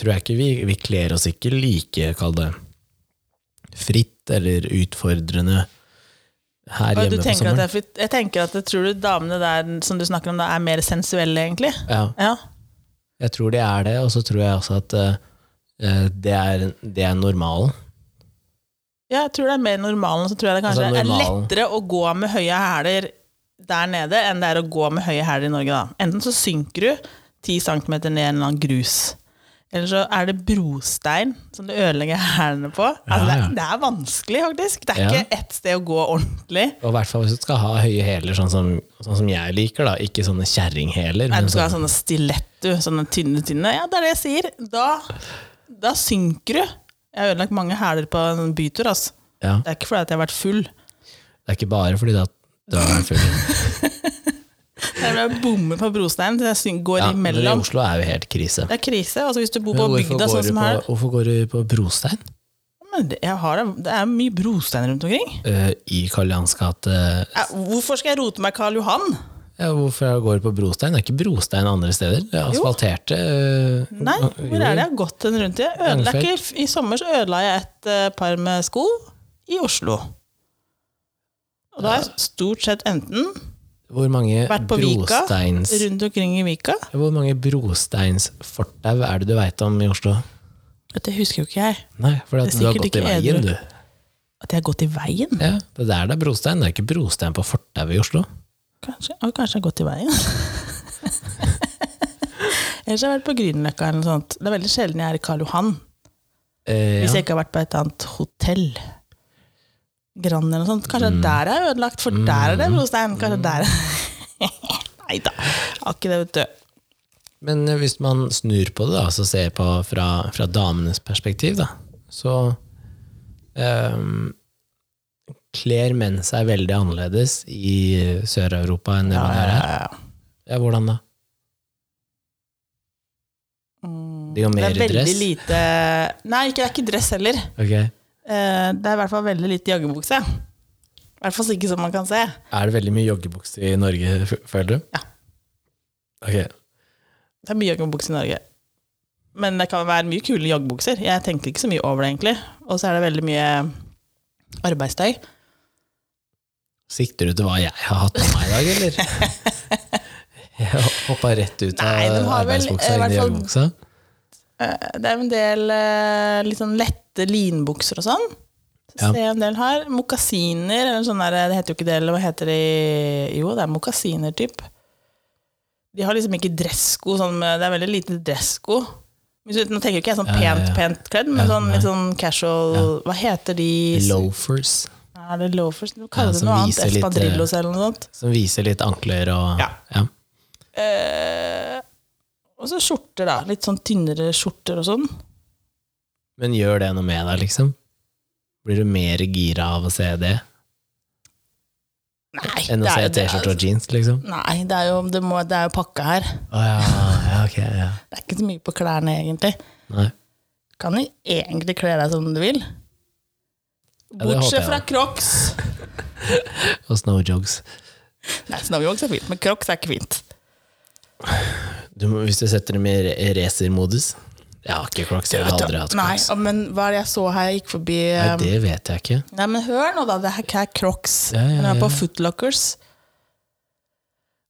Speaker 1: tror jeg ikke vi, vi kler oss ikke like, kall det, fritt eller utfordrende her
Speaker 2: Og du
Speaker 1: hjemme på
Speaker 2: tenker at det
Speaker 1: sommeren.
Speaker 2: er, fritt- jeg tenker at det, tror du damene der som du snakker om, da, er mer sensuelle, egentlig?
Speaker 1: Ja,
Speaker 2: Ja.
Speaker 1: jeg tror de er det, og så tror jeg også at eh, eh, det, er, det er normalen.
Speaker 2: Ja, jeg tror det er mer normalen. Så tror jeg det kanskje
Speaker 1: Altså,
Speaker 2: er
Speaker 1: normalen.
Speaker 2: lettere å gå med høye hæler der nede enn det er å gå med høye hæler i Norge. da. Enten så synker du 10 cm ned i en eller annen grus, eller så er det brostein som du ødelegger hælene på. Altså, det,
Speaker 1: Ja, ja.
Speaker 2: er, det er vanskelig, faktisk. Det er
Speaker 1: Ja.
Speaker 2: ikke ett sted å gå ordentlig.
Speaker 1: Og i hvert fall hvis du skal ha høye hæler, sånn, som- sånn som jeg liker. da Ikke sånne kjerringhæler.
Speaker 2: Nei,
Speaker 1: men
Speaker 2: du skal ha
Speaker 1: sånn-
Speaker 2: sånne stilett, du. Sånne tynne, tynne. Ja, det er det jeg sier. Da, da synker du. Jeg har ødelagt mange hæler på en bytur, altså.
Speaker 1: ja.
Speaker 2: Det er ikke fordi at jeg har vært full.
Speaker 1: Det er ikke bare fordi det at du har vært full.
Speaker 2: Jeg ble bommet på brosteinen til jeg syn- går
Speaker 1: Ja, men i
Speaker 2: imellom.
Speaker 1: Oslo er jo helt krise.
Speaker 2: Det er krise. altså Hvis du bor
Speaker 1: Men
Speaker 2: på
Speaker 1: hvorfor,
Speaker 2: bygda
Speaker 1: går
Speaker 2: sånn
Speaker 1: du
Speaker 2: som her
Speaker 1: på, hvorfor går du på brostein?
Speaker 2: Men det, jeg har, det- det er mye brostein rundt omkring.
Speaker 1: Eh, I Karl Johans gate
Speaker 2: Eh, Hvorfor skal jeg rote meg Karl Johan?
Speaker 1: Ja, hvorfor går du på brostein? Det er ikke brostein andre steder. Det er asfalterte øh,
Speaker 2: Nei, hvor er det jeg har gått den rundt i? Jeg Ødela ikke, I sommer så ødela jeg et eh, par med sko i Oslo. Og da har jeg stort sett enten
Speaker 1: Hvor mange
Speaker 2: vært på Vika,
Speaker 1: brosteins
Speaker 2: rundt omkring i Vika
Speaker 1: Hvor mange brosteinsfortau er det du veit om i Oslo?
Speaker 2: Dette husker jo ikke jeg.
Speaker 1: Nei, for at
Speaker 2: Det er
Speaker 1: du har
Speaker 2: sikkert
Speaker 1: gått i
Speaker 2: ikke
Speaker 1: veien,
Speaker 2: edru.
Speaker 1: du.
Speaker 2: At jeg har gått i veien?
Speaker 1: Ja, det er der det er brostein. Det er ikke brostein på fortau i Oslo.
Speaker 2: Kanskje, og kanskje jeg har gått i veien. Ellers har jeg vært på Grünerløkka eller noe sånt. Det er veldig sjelden jeg er i Karl Johan.
Speaker 1: Eh,
Speaker 2: Hvis
Speaker 1: ja.
Speaker 2: jeg ikke har vært på et annet hotell. Grand eller noe sånt. Kanskje
Speaker 1: Mm.
Speaker 2: der er jeg ødelagt, for der er det brostein. Kanskje der Nei da, har ikke det, vet du.
Speaker 1: Men eh, hvis man snur på det, da, så ser på fra, fra damenes perspektiv, da, så eh, kler menn seg veldig annerledes i Sør-Europa enn det man gjør her. Ja, hvordan da?
Speaker 2: Mm.
Speaker 1: Det er jo
Speaker 2: Det
Speaker 1: mer
Speaker 2: er veldig
Speaker 1: dress.
Speaker 2: lite Nei, ikke, det er ikke dress heller.
Speaker 1: Ok.
Speaker 2: Eh, Det er i hvert fall veldig lite joggebukse. I hvert fall ikke som man kan se.
Speaker 1: Er det veldig mye joggebukser i Norge, f- føler du?
Speaker 2: Ja.
Speaker 1: Ok.
Speaker 2: Det er mye joggebukse i Norge. Men det kan være mye kule joggebukser. Jeg tenker ikke så mye over det, egentlig. Og så er det veldig mye arbeidstøy.
Speaker 1: Sikter du til hva jeg har hatt på meg i dag, eller? Jeg hoppa rett ut
Speaker 2: Nei,
Speaker 1: av
Speaker 2: den har vel,
Speaker 1: arbeidsbuksa
Speaker 2: eh,
Speaker 1: inn i
Speaker 2: hvertfall-
Speaker 1: joggebuksa.
Speaker 2: Eh, Det er jo en del eh, litt sånn lette linbukser og sånn.
Speaker 1: Ja.
Speaker 2: Ser jeg en del her. Mokasiner, eller sånn der, det heter jo ikke det, eller hva heter det i- Jo, det er mokasiner, typ. De har liksom ikke dressko, sånn med, det er veldig lite dressko. Hvis du- Nå tenker jo ikke jeg sånn
Speaker 1: Ja, ja,
Speaker 2: pent,
Speaker 1: ja.
Speaker 2: pent kledd, men
Speaker 1: Ja,
Speaker 2: sånn
Speaker 1: nei.
Speaker 2: litt sånn casual Hva heter de?
Speaker 1: Loafers,
Speaker 2: Er det loafers? Du kaller
Speaker 1: Ja,
Speaker 2: det
Speaker 1: som
Speaker 2: noe annet.
Speaker 1: viser litt, eh,
Speaker 2: Espadrillos eller noe sånt.
Speaker 1: som viser litt ankler og
Speaker 2: Ja. Eh, og så skjorter, da. Litt sånn tynnere skjorter og sånn.
Speaker 1: Men gjør det noe med deg, liksom? Blir du mer gira av å se det
Speaker 2: Nei,
Speaker 1: enn å
Speaker 2: det er
Speaker 1: se
Speaker 2: jo- det er-
Speaker 1: T-skjorte og jeans, liksom?
Speaker 2: Nei, det er jo, det må, det er jo pakka her.
Speaker 1: Å ja, ja, ok, ja.
Speaker 2: Det er ikke så mye på klærne, egentlig.
Speaker 1: Nei.
Speaker 2: Kan du egentlig kle deg som du vil?
Speaker 1: det håper jeg
Speaker 2: Bortsett fra
Speaker 1: da.
Speaker 2: crocs.
Speaker 1: Og snowjogs.
Speaker 2: Nei, Snowjogs er fint, men crocs er ikke fint.
Speaker 1: Du må, hvis du setter dem i re- racermodus Jeg har ikke crocs, jeg har aldri hatt
Speaker 2: Nei,
Speaker 1: crocs.
Speaker 2: å, men hva er det jeg så her? Jeg gikk forbi
Speaker 1: Nei, um,
Speaker 2: eh,
Speaker 1: det vet jeg ikke.
Speaker 2: Nei, men hør nå, da. Det her er crocs.
Speaker 1: Ja, ja,
Speaker 2: Når jeg er
Speaker 1: ja.
Speaker 2: på Footlockers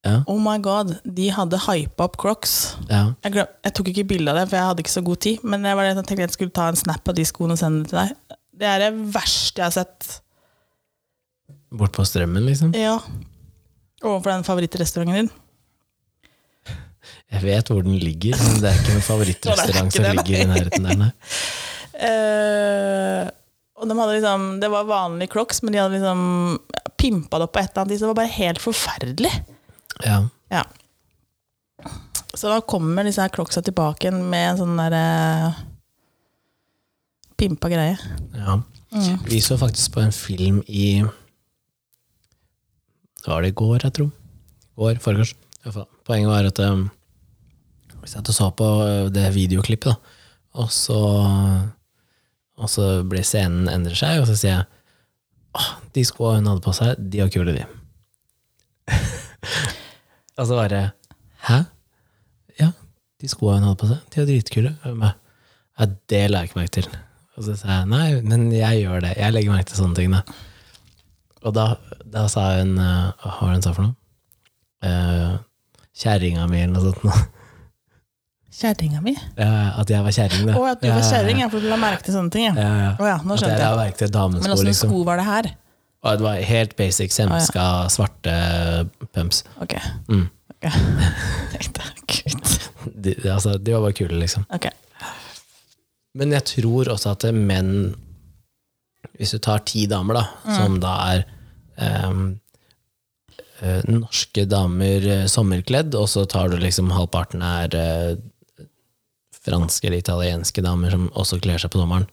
Speaker 1: Ja.
Speaker 2: Oh my god, de hadde hypa opp crocs.
Speaker 1: Ja.
Speaker 2: Jeg, glem, jeg tok ikke bilde av det, for jeg hadde ikke så god tid. Men jeg, var, jeg tenkte jeg skulle ta en snap av de skoene og sende det til deg. Det er det verste jeg har sett.
Speaker 1: Bort på strømmen, liksom.
Speaker 2: Ja. Overfor den favorittrestauranten din.
Speaker 1: Jeg vet hvor den ligger, men det er ikke en
Speaker 2: Nei,
Speaker 1: favorittrestaurant
Speaker 2: det er
Speaker 1: som
Speaker 2: ikke
Speaker 1: ligger i nærheten der. Nei.
Speaker 2: Eh, og de hadde liksom, det var vanlige crocs, men de hadde liksom pimpa det opp på et eller annet vis. Det var bare helt forferdelig.
Speaker 1: Ja.
Speaker 2: Ja. Så da kommer disse her crocsa tilbake igjen med en sånn der eh, pimpa greie.
Speaker 1: ja. Vi så faktisk på en film i Det var det i går, jeg tror. Går, foregårs. I hvert fall. Poenget var at um, vi satt og så på uh, det videoklippet, da. Og så, og så blir scenen endrer seg, og så sier jeg Åh, de skoa hun hadde på seg, de var kule, de. og så bare Hæ? Ja, de skoa hun hadde på seg, de var dritkule. Og jeg bare, Ja, det la jeg ikke merke til. Og så sa jeg nei, men jeg gjør det. Jeg legger merke til sånne ting, da. Og da, da sa hun eh, Hva var det hun sa for noe? Uh, Kjerringa mi, eller noe sånt. nå.
Speaker 2: Kjerringa mi.
Speaker 1: Ja, at jeg var kjerring, da.
Speaker 2: Å, at du var kjerring, ja, for du la merke til sånne ting. Ja.
Speaker 1: Ja, ja.
Speaker 2: Å ja, nå
Speaker 1: At jeg
Speaker 2: skjønte
Speaker 1: la
Speaker 2: jeg.
Speaker 1: merke til
Speaker 2: Men
Speaker 1: damesko,
Speaker 2: åssen
Speaker 1: liksom.
Speaker 2: sko var det her?
Speaker 1: Å, Og det var helt basic semska, svarte pumps.
Speaker 2: Ok.
Speaker 1: Mm.
Speaker 2: ok. Tenkte, Gud.
Speaker 1: De, de- altså, de var bare kule, liksom.
Speaker 2: Ok.
Speaker 1: Men jeg tror også at menn Hvis du tar ti damer, da, som da er ehm, eh, norske damer eh, sommerkledd, og så tar du liksom halvparten er eh, franske eller italienske damer som også kler seg på sommeren,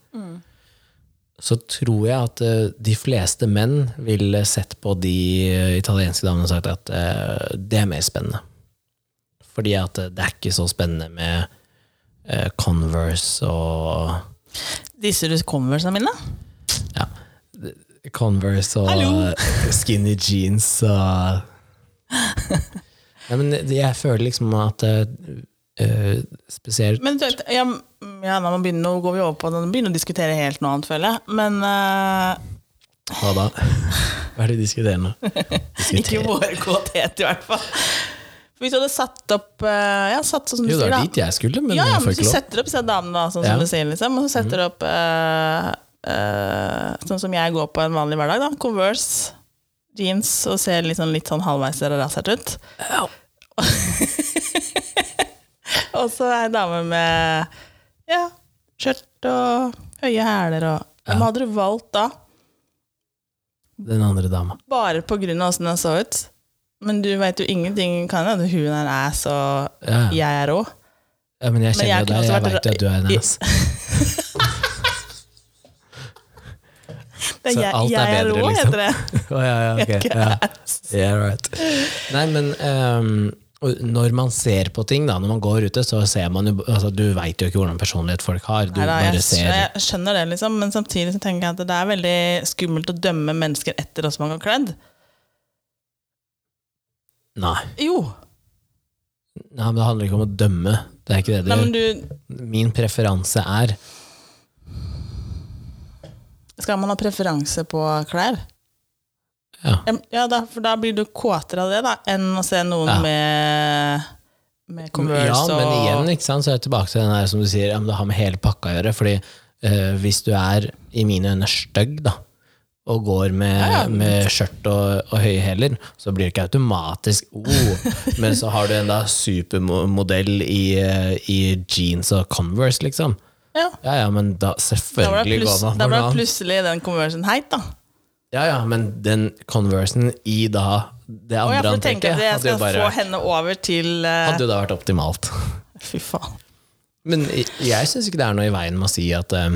Speaker 1: så tror jeg at eh, de fleste menn ville sett på de eh, italienske damene og sagt at eh, det er mer spennende. Fordi at eh, det er ikke så spennende med eh, Converse og
Speaker 2: Disser du Conversene mine?
Speaker 1: ja, Converse og
Speaker 2: Hallo!
Speaker 1: skinny jeans og Nei, men det- jeg føler liksom at eh, eh, spesielt
Speaker 2: Men du vet, ja, mm, ja, nå, må vi begynne, nå går vi over på Nå begynner vi å diskutere helt noe annet, føler jeg. Men eh,
Speaker 1: Hva da? Hva er det du diskuterer nå?
Speaker 2: ikke
Speaker 1: Diskuterer.
Speaker 2: våre kvalitet, i hvert fall. For hvis du hadde satt opp eh, Ja, satt sånn som du
Speaker 1: Jo, det
Speaker 2: sier,
Speaker 1: var
Speaker 2: da.
Speaker 1: dit jeg skulle, men
Speaker 2: ja,
Speaker 1: jeg
Speaker 2: ja, men
Speaker 1: får
Speaker 2: du
Speaker 1: ikke lov.
Speaker 2: setter opp disse damene, da, sånn
Speaker 1: Ja. Mhm.
Speaker 2: som du sier, liksom. Og så setter du opp eh, eh, sånn som jeg går på en vanlig hverdag, da. Converse, jeans, og ser litt sånn, litt sånn halvveis eller rasert ut. og så er ei dame med ja, skjørt og høye hæler og Hvem hadde du valgt da?
Speaker 1: Den andre dama.
Speaker 2: Bare på grunn av åssen hun så ut? Men du veit jo ingenting kan hende hun er en ass, og
Speaker 1: Ja, ja.
Speaker 2: jeg er rå.
Speaker 1: ja, men jeg
Speaker 2: Men
Speaker 1: kjenner
Speaker 2: jeg
Speaker 1: jo
Speaker 2: altså, kunne
Speaker 1: deg,
Speaker 2: også
Speaker 1: jeg
Speaker 2: vært
Speaker 1: veit jo at du er en
Speaker 2: i-
Speaker 1: ass.
Speaker 2: Det
Speaker 1: Så
Speaker 2: er jeg,
Speaker 1: alt er
Speaker 2: jeg er
Speaker 1: bedre,
Speaker 2: rå,
Speaker 1: liksom.
Speaker 2: heter det.
Speaker 1: Å, ja, ja, ok.
Speaker 2: Ikke
Speaker 1: Ja. Yeah, right. Nei, men ehm, og når man ser på ting, da, når man går ute, så ser man jo altså, Du veit jo ikke hvordan personlighet folk har. Du
Speaker 2: Nei, da,
Speaker 1: bare
Speaker 2: jeg,
Speaker 1: ser
Speaker 2: skjønner, jeg skjønner det, liksom, men samtidig så tenker jeg at det er veldig skummelt å dømme mennesker etter hvordan man har kledd.
Speaker 1: Nei.
Speaker 2: Jo,
Speaker 1: Nei, men det handler ikke om å dømme. Det er ikke det
Speaker 2: nei, men
Speaker 1: det gjør.
Speaker 2: du,
Speaker 1: Min preferanse er
Speaker 2: skal man ha preferanse på klær?
Speaker 1: ja.
Speaker 2: Em, Ja, da, for da blir du kåtere av det da, enn å se noen
Speaker 1: Ja.
Speaker 2: med, med Converse
Speaker 1: ja, men
Speaker 2: og
Speaker 1: igjen ikke sant, så er jeg tilbake til den her som du sier, ja, men det har med hele pakka å gjøre. Fordi eh, hvis du er i mine øyne stygg, da, og går med,
Speaker 2: Ja, ja.
Speaker 1: med skjørt og, og høye hæler, så blir det ikke automatisk oh. Men så har du en da supermodell i, eh, i jeans og Converse, liksom.
Speaker 2: Ja,
Speaker 1: Ja ja, men da
Speaker 2: da var det
Speaker 1: selvfølgelig
Speaker 2: pluss-
Speaker 1: går man
Speaker 2: da
Speaker 1: for
Speaker 2: ble
Speaker 1: noe
Speaker 2: det
Speaker 1: annet.
Speaker 2: plutselig den Conversen heit, da.
Speaker 1: Ja ja, men den Conversen i da det
Speaker 2: Og
Speaker 1: andre
Speaker 2: jeg får
Speaker 1: antrekket
Speaker 2: tenke at jeg
Speaker 1: hadde jo
Speaker 2: skal
Speaker 1: bare
Speaker 2: få henne over til eh,
Speaker 1: hadde jo da vært optimalt.
Speaker 2: Fy faen.
Speaker 1: Men jeg- jeg syns ikke det er noe i veien med å si at eh,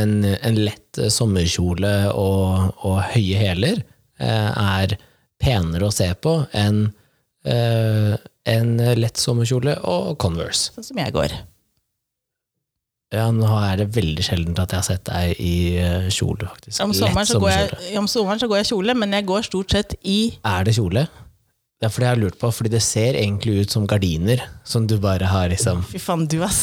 Speaker 1: en, en lett eh, sommerkjole og, og høye hæler eh, er penere å se på enn eh, en lett sommerkjole og Converse.
Speaker 2: Sånn som jeg går.
Speaker 1: Ja, nå er det veldig sjeldent at jeg har sett deg i eh, kjole, faktisk.
Speaker 2: Om sommeren, så går jeg, om sommeren så går jeg kjole, men jeg går stort sett i
Speaker 1: Er det kjole? Det er fordi jeg har lurt på, fordi det ser egentlig ut som gardiner som du bare har liksom
Speaker 2: Fy faen, du, ass.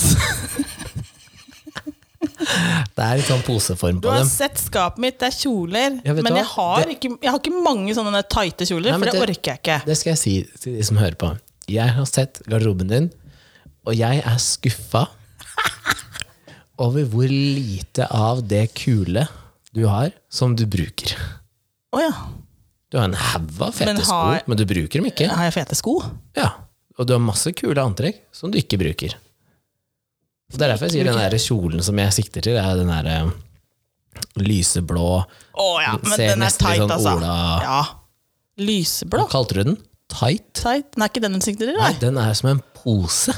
Speaker 1: Det er litt sånn poseform
Speaker 2: Du
Speaker 1: på
Speaker 2: har
Speaker 1: dem.
Speaker 2: sett skapet mitt, det er kjoler.
Speaker 1: Ja, vet du
Speaker 2: men jeg
Speaker 1: hva?
Speaker 2: har,
Speaker 1: Det-
Speaker 2: ikke, jeg har ikke mange sånne der tighte kjoler,
Speaker 1: Nei, men
Speaker 2: for det
Speaker 1: det-
Speaker 2: orker jeg ikke.
Speaker 1: Det skal jeg si til de som hører på. Jeg har sett garderoben din, og jeg er skuffa over hvor lite av det kule du har, som du bruker.
Speaker 2: Å ja.
Speaker 1: Du har en haug av fete
Speaker 2: Men har-
Speaker 1: sko, men du bruker dem ikke.
Speaker 2: Har jeg fete sko?
Speaker 1: Ja. Og du har masse kule antrekk som du ikke bruker. Og Det er derfor jeg sier den der kjolen som jeg sikter til, er den derre lyseblå
Speaker 2: Å ja, men
Speaker 1: Ser
Speaker 2: den er
Speaker 1: nesten litt
Speaker 2: tight,
Speaker 1: sånn
Speaker 2: altså.
Speaker 1: Ola-
Speaker 2: Ja.
Speaker 1: Hva
Speaker 2: Lyseblå
Speaker 1: kalte du den? Tight?
Speaker 2: tight. Den er ikke den hun sikter til,
Speaker 1: Nei,
Speaker 2: nei?
Speaker 1: den er som en pose.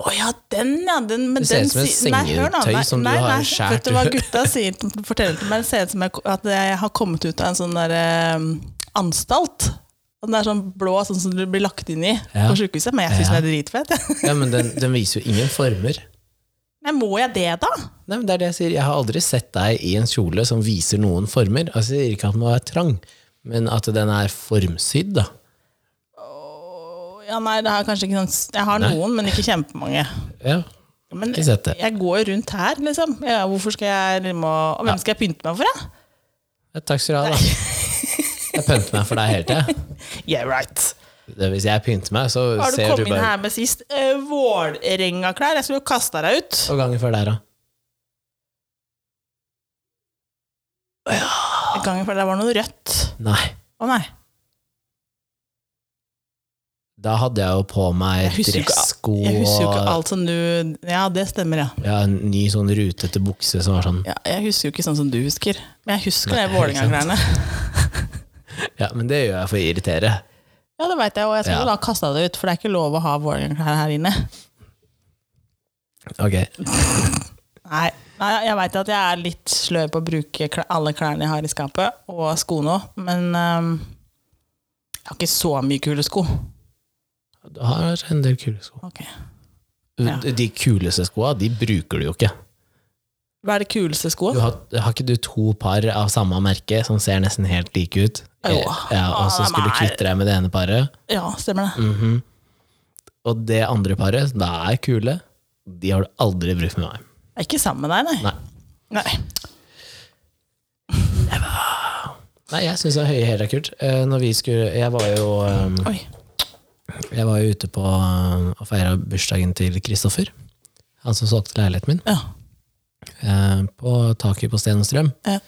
Speaker 2: Å ja, den, ja. Den, men
Speaker 1: Det ser
Speaker 2: den
Speaker 1: ut som en
Speaker 2: si- nei, hør nå,
Speaker 1: sengetøy
Speaker 2: nei,
Speaker 1: som du
Speaker 2: nei,
Speaker 1: har
Speaker 2: nei.
Speaker 1: skjært
Speaker 2: Vet du hva
Speaker 1: ut.
Speaker 2: gutta sier, forteller til meg? Det ser ut som jeg, at jeg har kommet ut av en sånn der eh, anstalt. Den er sånn blå, sånn som du blir lagt inn i
Speaker 1: Ja.
Speaker 2: på sjukehuset. Men jeg syns den er dritfet.
Speaker 1: Ja, men den, den viser jo ingen former.
Speaker 2: Nei, må jeg det, da?
Speaker 1: Nei, men det er det jeg sier. Jeg har aldri sett deg i en kjole som viser noen former. Altså, jeg sier ikke at den må være trang, men at den er formsydd, da.
Speaker 2: Ja, nei, det er kanskje ikke sånn Jeg har noen, men ikke kjempemange.
Speaker 1: Ja,
Speaker 2: Men
Speaker 1: ikke sett det.
Speaker 2: jeg går jo rundt her, liksom. Ja, hvorfor skal jeg liksom, og- Og hvem skal jeg pynte meg for, da?
Speaker 1: Ja, Takk skal du ha, da. Jeg pynter meg for deg hele tida.
Speaker 2: Yeah, right.
Speaker 1: Det- Hvis jeg pynter meg, så
Speaker 2: Har du
Speaker 1: ser du
Speaker 2: kommet inn
Speaker 1: bare
Speaker 2: her med sist uh, Vålerenga-klær? Jeg skulle jo kasta deg ut.
Speaker 1: to ganger før der, da.
Speaker 2: Gangen før der var noe rødt.
Speaker 1: Nei.
Speaker 2: Å nei.
Speaker 1: Da hadde jeg jo på meg
Speaker 2: Jeg husker jo ikke-
Speaker 1: dressko
Speaker 2: Jeg husker jo ikke
Speaker 1: og
Speaker 2: alt som du Ja, det stemmer, ja.
Speaker 1: ja, en ny sånn rutete bukse som var sånn
Speaker 2: ja. Jeg husker jo ikke sånn som du husker. Men jeg husker
Speaker 1: Nei,
Speaker 2: det Vålerenga-greiene.
Speaker 1: Ja, men det gjør jeg for å irritere.
Speaker 2: Ja, det veit jeg, og jeg skal
Speaker 1: Ja.
Speaker 2: jo da kaste det ut, for det er ikke lov å ha Vålerenga-klær her inne.
Speaker 1: Ok.
Speaker 2: Nei, nei jeg veit at jeg er litt sløv på å bruke kl- alle klærne jeg har i skapet, og skoene òg, men ehm, jeg har ikke så mye kule sko.
Speaker 1: Du har en del kule sko.
Speaker 2: Ok. Ja.
Speaker 1: De kuleste skoa, de bruker du jo ikke.
Speaker 2: Hva er det kuleste skoet?
Speaker 1: Du har, har ikke du to par av samme merke som ser nesten helt like ut? Eh,
Speaker 2: Jo.
Speaker 1: Ja, og så
Speaker 2: Ah,
Speaker 1: skulle du
Speaker 2: nei.
Speaker 1: kvitte deg med det ene paret.
Speaker 2: Ja, stemmer det.
Speaker 1: Mhm. Og det andre paret, da er kule. De har du aldri brukt med meg.
Speaker 2: Jeg er ikke sammen med deg, nei.
Speaker 1: Nei.
Speaker 2: nei.
Speaker 1: Nei, jeg syns høye hæler er kult. Eh, Når vi skulle Jeg var jo eh,
Speaker 2: Oi.
Speaker 1: Jeg var jo ute på eh, og feira bursdagen til Kristoffer. Han som solgte leiligheten min.
Speaker 2: Ja.
Speaker 1: eh, På taket på Sten og Strøm.
Speaker 2: Ja.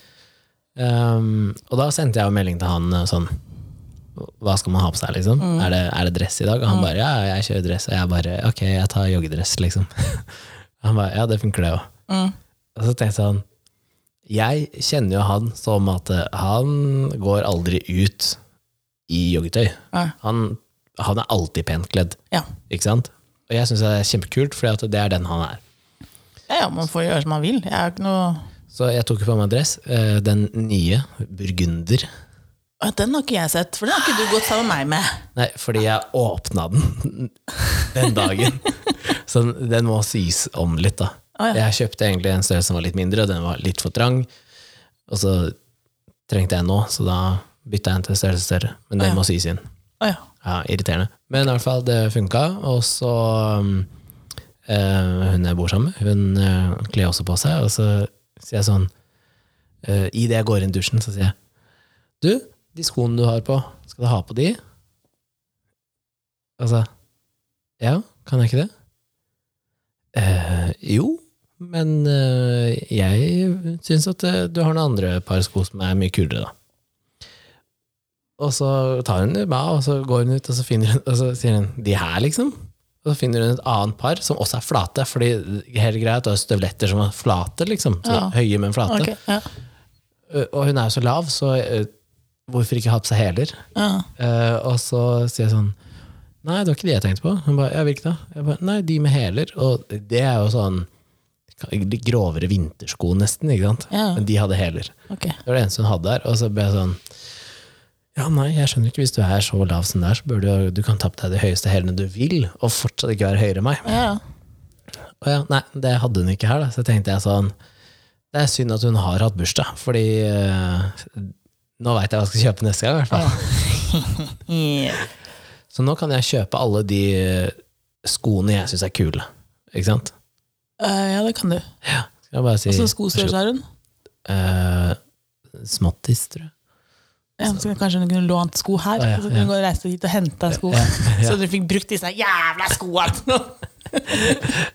Speaker 1: Um, og da sendte jeg jo melding til han eh, sånn Hva skal man ha på seg, liksom?
Speaker 2: Mm.
Speaker 1: Er, det, er det dress i dag? Og han bare ja, jeg kjører dress. Og jeg bare ok, jeg tar joggedress, liksom. han bare ja, det funker det òg.
Speaker 2: Mm.
Speaker 1: Og så tenkte han Jeg kjenner jo han som at eh, han går aldri ut i joggetøy.
Speaker 2: Ja.
Speaker 1: Han, han er alltid pent kledd,
Speaker 2: Ja.
Speaker 1: ikke sant? Og jeg syns det er kjempekult, for det er den han er.
Speaker 2: ja, ja, man får gjøre som man vil. Jeg er ikke noe
Speaker 1: Så jeg tok jo på meg dress. eh, Den nye, burgunder.
Speaker 2: Å, Den har ikke jeg sett, for den har ikke du gått sammen med meg med.
Speaker 1: Nei, fordi jeg åpna den den dagen. Så den- den må sys om litt, da.
Speaker 2: Å, ja.
Speaker 1: Jeg kjøpte egentlig en størrelse som var litt mindre, og den var litt for trang. Og så trengte jeg en nå, så da bytta jeg en til en størrelse større. Men den
Speaker 2: Å, ja.
Speaker 1: må sys inn.
Speaker 2: Å ja.
Speaker 1: Ja, irriterende. Men i hvert fall, det funka. Og så um, eh, Hun jeg bor sammen med, hun eh, kler også på seg, og så sier jeg sånn eh, I det jeg går inn i dusjen, så sier jeg Du, de skoene du har på, skal du ha på de? Altså Ja, kan jeg ikke det? «Eh, jo, men eh, jeg syns at eh, du har noen andre par sko som er mye kulere, da. Og så tar hun meg, og så går hun ut, og så, finner hun, og så sier hun 'de her', liksom. Og så finner hun et annet par som også er flate, fordi helt greit, du har støvletter som er flate, liksom. Så
Speaker 2: Ja.
Speaker 1: Høye, men flate.
Speaker 2: Ok, ja.
Speaker 1: Eh, Og hun er jo så lav, så eh, hvorfor ikke ha på seg hæler?
Speaker 2: ja.
Speaker 1: Eh, og så sier jeg sånn Nei, det var ikke det jeg tenkte på. Hun ba, ja, hvilke da? Jeg ba, Nei, de med hæler. Og det er jo sånn litt grovere vintersko, nesten. ikke sant?
Speaker 2: Ja.
Speaker 1: Men de hadde hæler.
Speaker 2: Ok.
Speaker 1: Det var det eneste hun hadde der. Og så ble jeg sånn Ja, nei, jeg skjønner ikke. Hvis du er så lav som du er, så bør du, jo- du kan ta på deg de høyeste hælene du vil, og fortsatt ikke være høyere enn meg.
Speaker 2: Ja, ja.
Speaker 1: Og ja, nei, det hadde hun ikke her, da. Så tenkte jeg sånn Det er synd at hun har hatt bursdag, fordi eh, nå veit jeg hva jeg skal kjøpe neste gang, i hvert fall.
Speaker 2: Yeah.
Speaker 1: Så nå kan jeg kjøpe alle de eh, skoene jeg syns er kule. Ikke sant?
Speaker 2: Eh, ja, det kan du.
Speaker 1: Skal jeg bare si
Speaker 2: Og så skostørrelse har hun.
Speaker 1: Eh, Småttis, tror jeg.
Speaker 2: Ja, så kanskje hun kunne lånt sko her,
Speaker 1: Ja, ja,
Speaker 2: så kunne
Speaker 1: ja.
Speaker 2: hun gå og reise hit og hente sko. Så du fikk brukt disse jævla skoene!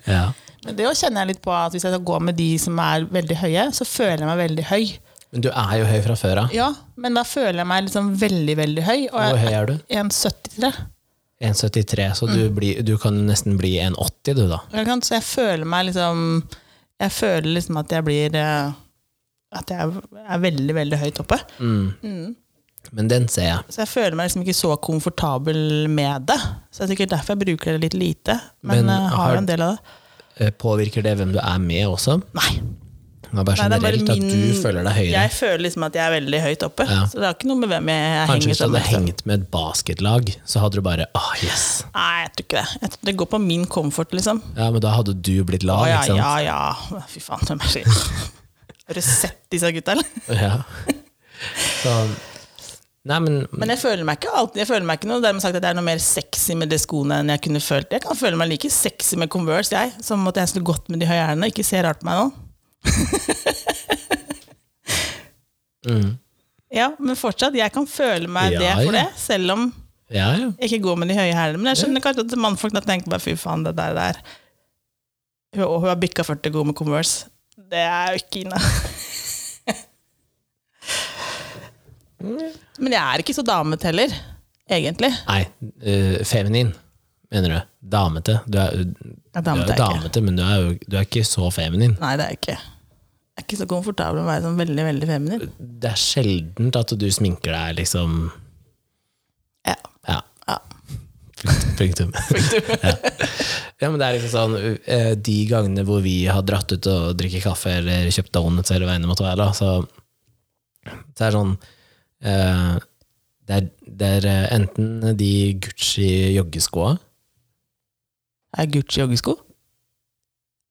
Speaker 1: Ja.
Speaker 2: Men det også kjenner jeg litt på at hvis jeg skal gå med de som er veldig høye, så føler jeg meg veldig høy.
Speaker 1: Men du er jo høy fra før av.
Speaker 2: Ja, men da føler jeg meg liksom veldig, veldig høy. Og
Speaker 1: Hvor
Speaker 2: jeg
Speaker 1: høy er du?
Speaker 2: er Mm. 1,73.
Speaker 1: 1,73, så du, blir, du kan nesten bli 1,80 du, da.
Speaker 2: Ikke sant? Så jeg føler meg liksom Jeg føler liksom at jeg blir eh, At jeg er veldig, veldig høyt oppe.
Speaker 1: Men den ser jeg.
Speaker 2: Så jeg føler meg liksom ikke så komfortabel med det. Så det er sikkert derfor jeg bruker det litt lite. Men,
Speaker 1: Men
Speaker 2: eh, har
Speaker 1: har-
Speaker 2: jo en del av det.
Speaker 1: Eh, Påvirker det hvem du er med også?
Speaker 2: Nei.
Speaker 1: Det er bare
Speaker 2: Nei, det er bare
Speaker 1: generelt at
Speaker 2: min-
Speaker 1: du føler deg høyere.
Speaker 2: Jeg føler liksom at jeg er veldig høyt oppe.
Speaker 1: Ja.
Speaker 2: Så det har ikke noe med hvem jeg, jeg
Speaker 1: Kanskje
Speaker 2: henger sånn, liksom.
Speaker 1: hvis du hadde
Speaker 2: sammen med.
Speaker 1: hengt med et basketlag, så hadde du bare åh, yes.
Speaker 2: Nei, jeg tror ikke det. Jeg tror det går på min komfort, liksom.
Speaker 1: Ja, men da hadde du blitt
Speaker 2: Å
Speaker 1: lav,
Speaker 2: ja,
Speaker 1: ikke
Speaker 2: ja,
Speaker 1: sant?
Speaker 2: ja. Fy faen, hvem er det? Har du sett disse gutta, eller?
Speaker 1: Ja. Så, nei, men,
Speaker 2: Men jeg føler meg ikke alltid Jeg føler meg ikke noe dermed sagt at jeg er noe mer sexy med de skoene enn jeg kunne følt. Jeg kan føle meg like sexy med Converse, jeg, som at jeg skulle gått med de høye hælene. Ikke se rart på meg nå.
Speaker 1: mm,
Speaker 2: Ja, men fortsatt, jeg kan føle meg
Speaker 1: Ja,
Speaker 2: det
Speaker 1: ja.
Speaker 2: for det, selv om
Speaker 1: ja, ja.
Speaker 2: jeg ikke går med de høye hælene. Men jeg skjønner kanskje at mannfolk da tenker bare fy faen, det der der. Hun, og hun har bikka 40 god med Converse. Det er jo ikke inne. Men jeg er ikke så damete heller, egentlig.
Speaker 1: Nei, eh, feminin, mener du. Damete. Du er,
Speaker 2: Jeg er
Speaker 1: du er jo
Speaker 2: damete er jeg ikke.
Speaker 1: damete, men du er, jo, du er ikke så feminin.
Speaker 2: Nei, det er jeg ikke. Jeg er ikke så komfortabel med å være sånn veldig, veldig feminin.
Speaker 1: Det er sjeldent at du sminker deg, liksom.
Speaker 2: Ja.
Speaker 1: Ja.
Speaker 2: Ja.
Speaker 1: Punktum. Ja, men det er liksom sånn eh, De gangene hvor vi har dratt ut og drikker kaffe eller kjøpt donuts eller hva enn det måtte være, da, så, så er det sånn eh, det, er, det er eh, enten de Gucci joggeskoa
Speaker 2: Er Gucci joggesko?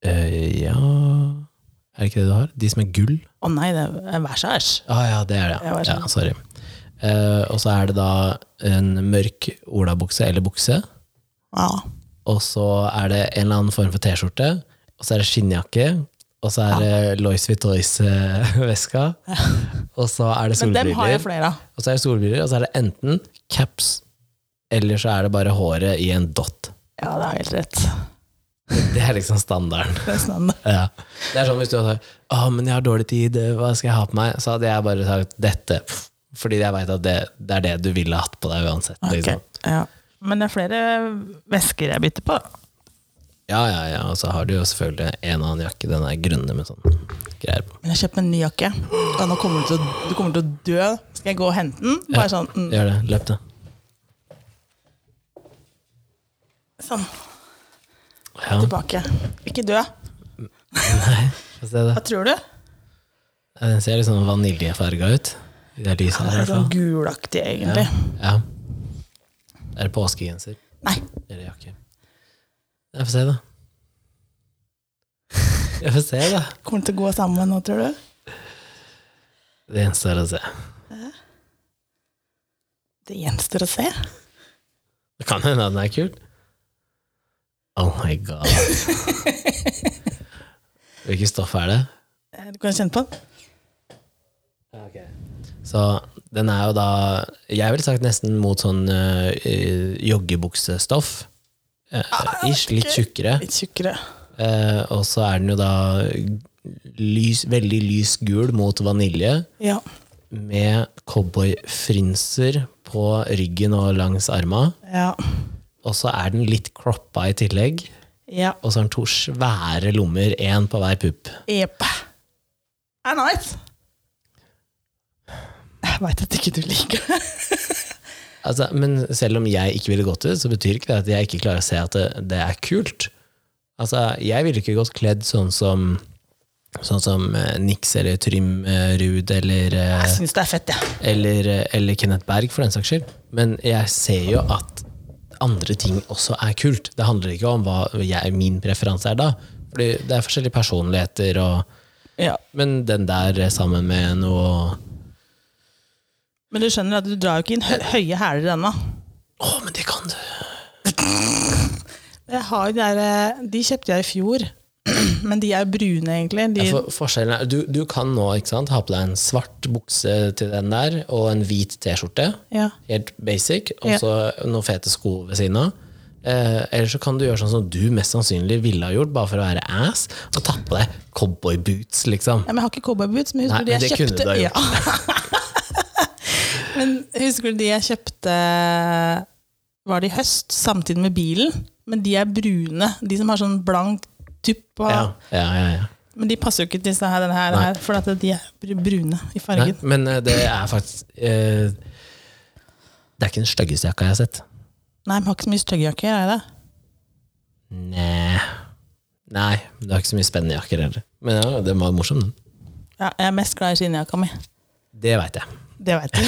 Speaker 2: Å
Speaker 1: eh, Ja Er det ikke det du har? De som er gull?
Speaker 2: nei, det er versage.
Speaker 1: Ah, ja, det er det.
Speaker 2: Ja,
Speaker 1: Ja,
Speaker 2: vær så
Speaker 1: ja sorry. Eh, og så er det da en mørk olabukse eller bukse.
Speaker 2: Ja.
Speaker 1: og så er det en eller annen form for T-skjorte, og så er det skinnjakke, og så er det Lois Vitois-veska, og så er det
Speaker 2: Men dem har
Speaker 1: solbriller,
Speaker 2: jeg flere av.
Speaker 1: og så er det solbriller, og så er det enten caps, eller så er det bare håret i en dott.
Speaker 2: Ja, det er helt rett.
Speaker 1: Det er liksom standarden.
Speaker 2: Det er sånn.
Speaker 1: Ja. Det er sånn hvis du hadde sagt, å, men jeg har dårlig tid, hva skal jeg ha på meg? Så hadde jeg bare sagt dette, fordi jeg vet at det, det er det du ville hatt på deg uansett. Liksom.
Speaker 2: Ok, Ja. Men det er flere vesker jeg bytter på. da.
Speaker 1: Ja, ja, ja, og så har du jo selvfølgelig en og annen jakke, den er grønne med sånn greier på.
Speaker 2: Men jeg kjøpte en ny jakke. Og nå kommer du til å, du kommer til å dø. Skal jeg gå og hente den? Bare sånn. Mm,
Speaker 1: Gjør det, løp det.
Speaker 2: sånn.
Speaker 1: Ja.
Speaker 2: Tilbake. Ikke dø.
Speaker 1: Få se det.
Speaker 2: Hva tror du?
Speaker 1: Ja, Den ser litt sånn vaniljefarga ut. I det lyset her, i
Speaker 2: Det er
Speaker 1: hvert fall.
Speaker 2: sånn gulaktig,
Speaker 1: Ja.
Speaker 2: egentlig.
Speaker 1: ja. Er det påskegenser
Speaker 2: Nei.
Speaker 1: eller jakke? Jeg får se, da. Jeg får se, da.
Speaker 2: Kommer den til å gå sammen nå, tror du?
Speaker 1: Det gjenstår å se.
Speaker 2: Det gjenstår å se.
Speaker 1: Det kan hende at den er kul. Oh my god. Hvilket stoff er det?
Speaker 2: Eh, Du kan kjenne på den.
Speaker 1: Så den er jo da Jeg ville sagt nesten mot sånn uh, joggebuksestoff. Eh, ish, litt
Speaker 2: ok.
Speaker 1: tjukkere.
Speaker 2: Litt tjukkere.
Speaker 1: Eh, og så er den jo da lys, veldig lys gul mot vanilje,
Speaker 2: Ja.
Speaker 1: med cowboyfrynser på ryggen og langs arma.
Speaker 2: Ja.
Speaker 1: Og så er den litt kroppa i tillegg,
Speaker 2: Ja.
Speaker 1: og så har den to svære lommer, én på hver pupp.
Speaker 2: Jepp. Det er Ah, nice. Jeg veit at ikke du liker det.
Speaker 1: Altså, men selv om jeg ikke ville gått ut, så betyr ikke det at jeg ikke klarer å se at det, det er kult. Altså, jeg ville ikke gått kledd sånn som Sånn som eh, Nix eller Trym eh, Ruud eller eh,
Speaker 2: Jeg syns det er fett, jeg. Ja.
Speaker 1: eller, eh, eller Kenneth Berg, for den saks skyld. Men jeg ser jo at andre ting også er kult. Det handler ikke om hva jeg, min preferanse er da. Fordi det er forskjellige personligheter, og,
Speaker 2: Ja.
Speaker 1: men den der eh, sammen med noe
Speaker 2: Men du skjønner at du drar jo ikke inn hø høye hæler ennå.
Speaker 1: Å, men det kan du!
Speaker 2: Jeg har jo de der, eh, De kjøpte jeg i fjor, men de er jo brune, egentlig. De,
Speaker 1: Ja, For, forskjellen er, du, du kan nå ikke sant, ha på deg en svart bukse til den der, og en hvit T-skjorte.
Speaker 2: ja.
Speaker 1: Helt basic,
Speaker 2: Ja.
Speaker 1: og så noen fete sko ved siden av. Eh, eller så kan du gjøre sånn som du mest sannsynlig ville ha gjort, bare for å være ass, og ta på deg cowboyboots, liksom.
Speaker 2: Ja, men jeg har ikke cowboyboots, men
Speaker 1: Nei,
Speaker 2: husker du de
Speaker 1: men
Speaker 2: jeg
Speaker 1: det kunne
Speaker 2: kjøpte?
Speaker 1: du ha
Speaker 2: Ja. men husker du de jeg kjøpte eh, Var det i høst, samtidig med bilen? Men de er brune. De som har sånn blank tupp. Og,
Speaker 1: Ja, ja, ja, ja.
Speaker 2: Men de passer jo ikke til disse her, denne her,
Speaker 1: Nei.
Speaker 2: her for at de er br- brune i
Speaker 1: Nei,
Speaker 2: fargen.
Speaker 1: men eh, det er faktisk eh, Det er ikke den styggeste jakka jeg har sett.
Speaker 2: Nei, men jeg har ikke så mye styggjakker, er jeg det?
Speaker 1: Nei. Nei, det er ikke så mye spennende jakker heller. Men ja, den var morsom, den.
Speaker 2: Ja, jeg er mest glad i skinnjakka mi.
Speaker 1: Det veit jeg.
Speaker 2: Det veit du.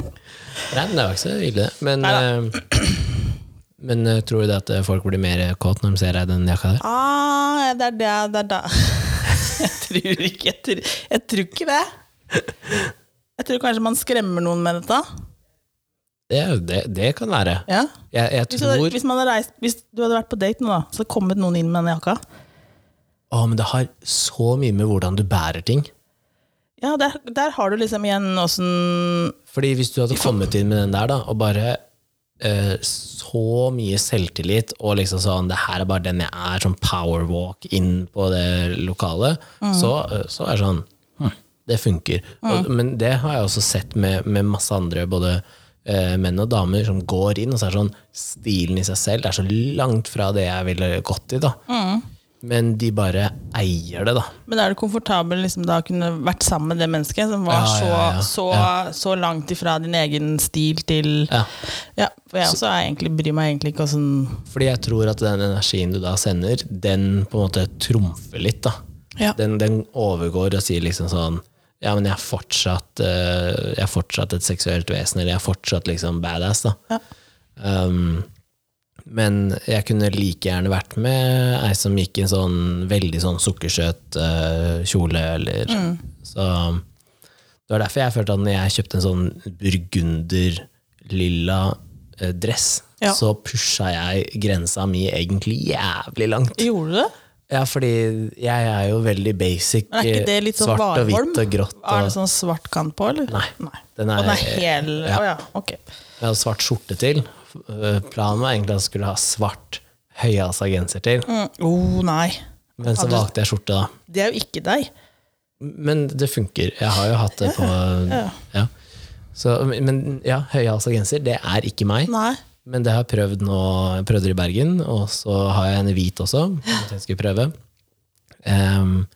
Speaker 1: Nei, men det var ikke så ille, det. Men,
Speaker 2: Neida.
Speaker 1: eh, men eh, tror du det at eh, folk blir mer kåt når de ser deg i den jakka der?
Speaker 2: Ah, det er det, det er da. Jeg tror ikke, jeg tror, jeg tror ikke det. Jeg tror kanskje man skremmer noen med dette.
Speaker 1: Det, det, det kan være.
Speaker 2: Ja.
Speaker 1: Jeg, jeg
Speaker 2: Hvis, du hadde,
Speaker 1: tror
Speaker 2: hvis, man hadde reist, hvis du hadde vært på date nå, da, så hadde kommet noen inn med denne jakka.
Speaker 1: Å, men det har så mye med hvordan du bærer ting.
Speaker 2: Ja, der, der har du liksom igjen åssen
Speaker 1: Fordi hvis du hadde kommet inn med den der da, og bare eh, så mye selvtillit, og liksom sånn, det her er bare den jeg er, sånn powerwalk inn på det lokale, så, eh, så er det sånn, Mm. hm, Mm. det funker. Og, men det har jeg også sett med, med masse andre, både eh, menn og damer, som går inn, og så er det sånn Stilen i seg selv det er så langt fra det jeg ville gått i, da. Men de bare eier det, da.
Speaker 2: Men er du komfortabel liksom, da å kunne vært sammen med det mennesket som var
Speaker 1: Ja,
Speaker 2: så,
Speaker 1: ja, ja.
Speaker 2: Så, så langt ifra din egen stil til
Speaker 1: Ja.
Speaker 2: Ja, for jeg også er egentlig, bryr meg egentlig ikke åssen
Speaker 1: Fordi jeg tror at den energien du da sender, den på en måte trumfer litt, da.
Speaker 2: ja.
Speaker 1: Den, den overgår og sier liksom sånn Ja, men jeg er fortsatt, eh, jeg er fortsatt et seksuelt vesen, eller jeg er fortsatt liksom badass, da.
Speaker 2: Ja.
Speaker 1: Um, men jeg kunne like gjerne vært med ei som gikk i en sånn veldig sånn sukkersøt eh, kjole, eller
Speaker 2: Mm.
Speaker 1: Så det var derfor jeg følte at når jeg kjøpte en sånn burgunderlilla eh, dress,
Speaker 2: Ja.
Speaker 1: så pusha jeg grensa mi egentlig jævlig langt.
Speaker 2: Gjorde du det?
Speaker 1: Ja, fordi jeg er jo veldig basic.
Speaker 2: Men er ikke det litt sånn
Speaker 1: svart og
Speaker 2: varholm?
Speaker 1: hvitt og grått. Og,
Speaker 2: Er det sånn svart kant på, eller?
Speaker 1: Nei.
Speaker 2: Nei.
Speaker 1: Den er-
Speaker 2: Og den er hel Å
Speaker 1: Eh, ja.
Speaker 2: ja. ok.
Speaker 1: Jeg hadde svart skjorte til. Eh, Planen var egentlig at jeg skulle ha svart høyhalsa genser til,
Speaker 2: Mm. Oh, nei.
Speaker 1: men så
Speaker 2: Hadde-
Speaker 1: valgte jeg skjorte, da.
Speaker 2: Det er jo ikke deg.
Speaker 1: Men det funker. Jeg har jo hatt det på ja. Så, Men ja, høyhalsa genser, det er ikke meg.
Speaker 2: Nei.
Speaker 1: Men det har jeg prøvd nå. Jeg prøvde det i Bergen, og så har jeg en hvit også. som Jeg skulle prøve. Em,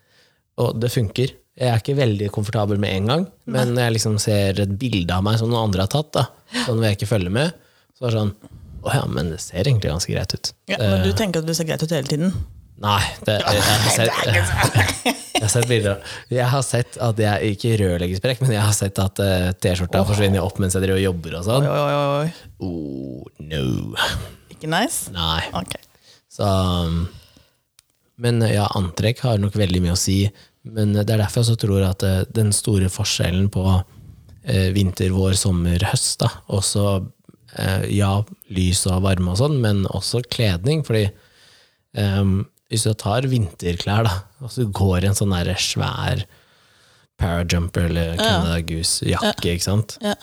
Speaker 1: og det funker. Jeg er ikke veldig komfortabel med en gang, men når jeg liksom ser et bilde av meg som noen andre har tatt, da, sånn hvor jeg ikke følger med, så er det sånn Å ja, men det ser egentlig ganske greit ut.
Speaker 2: Ja, men du tenker at du ser greit ut hele tiden?
Speaker 1: Nei, det, jeg, har sett, jeg har sett bilder. Jeg har sett at jeg ikke rødleggersprekk, men jeg har sett at eh, T-skjorta forsvinner opp mens jeg driver og jobber og
Speaker 2: Oi,
Speaker 1: sånn.
Speaker 2: oi, oi, oi.
Speaker 1: Oh, no.
Speaker 2: Ikke nice?
Speaker 1: Nei.
Speaker 2: Ok.
Speaker 1: Så, um, men eh, ja, antrekk har nok veldig mye å si. Men eh, det er derfor jeg også tror at eh, den store forskjellen på eh, vinter, vår, sommer, høst da, Også eh, ja, lys og varme og sånn, men også kledning. Fordi em, hvis du tar vinterklær, da, og så går i en sånn der svær parajumper eller Canada Goose-jakke, ikke sant?
Speaker 2: Ja.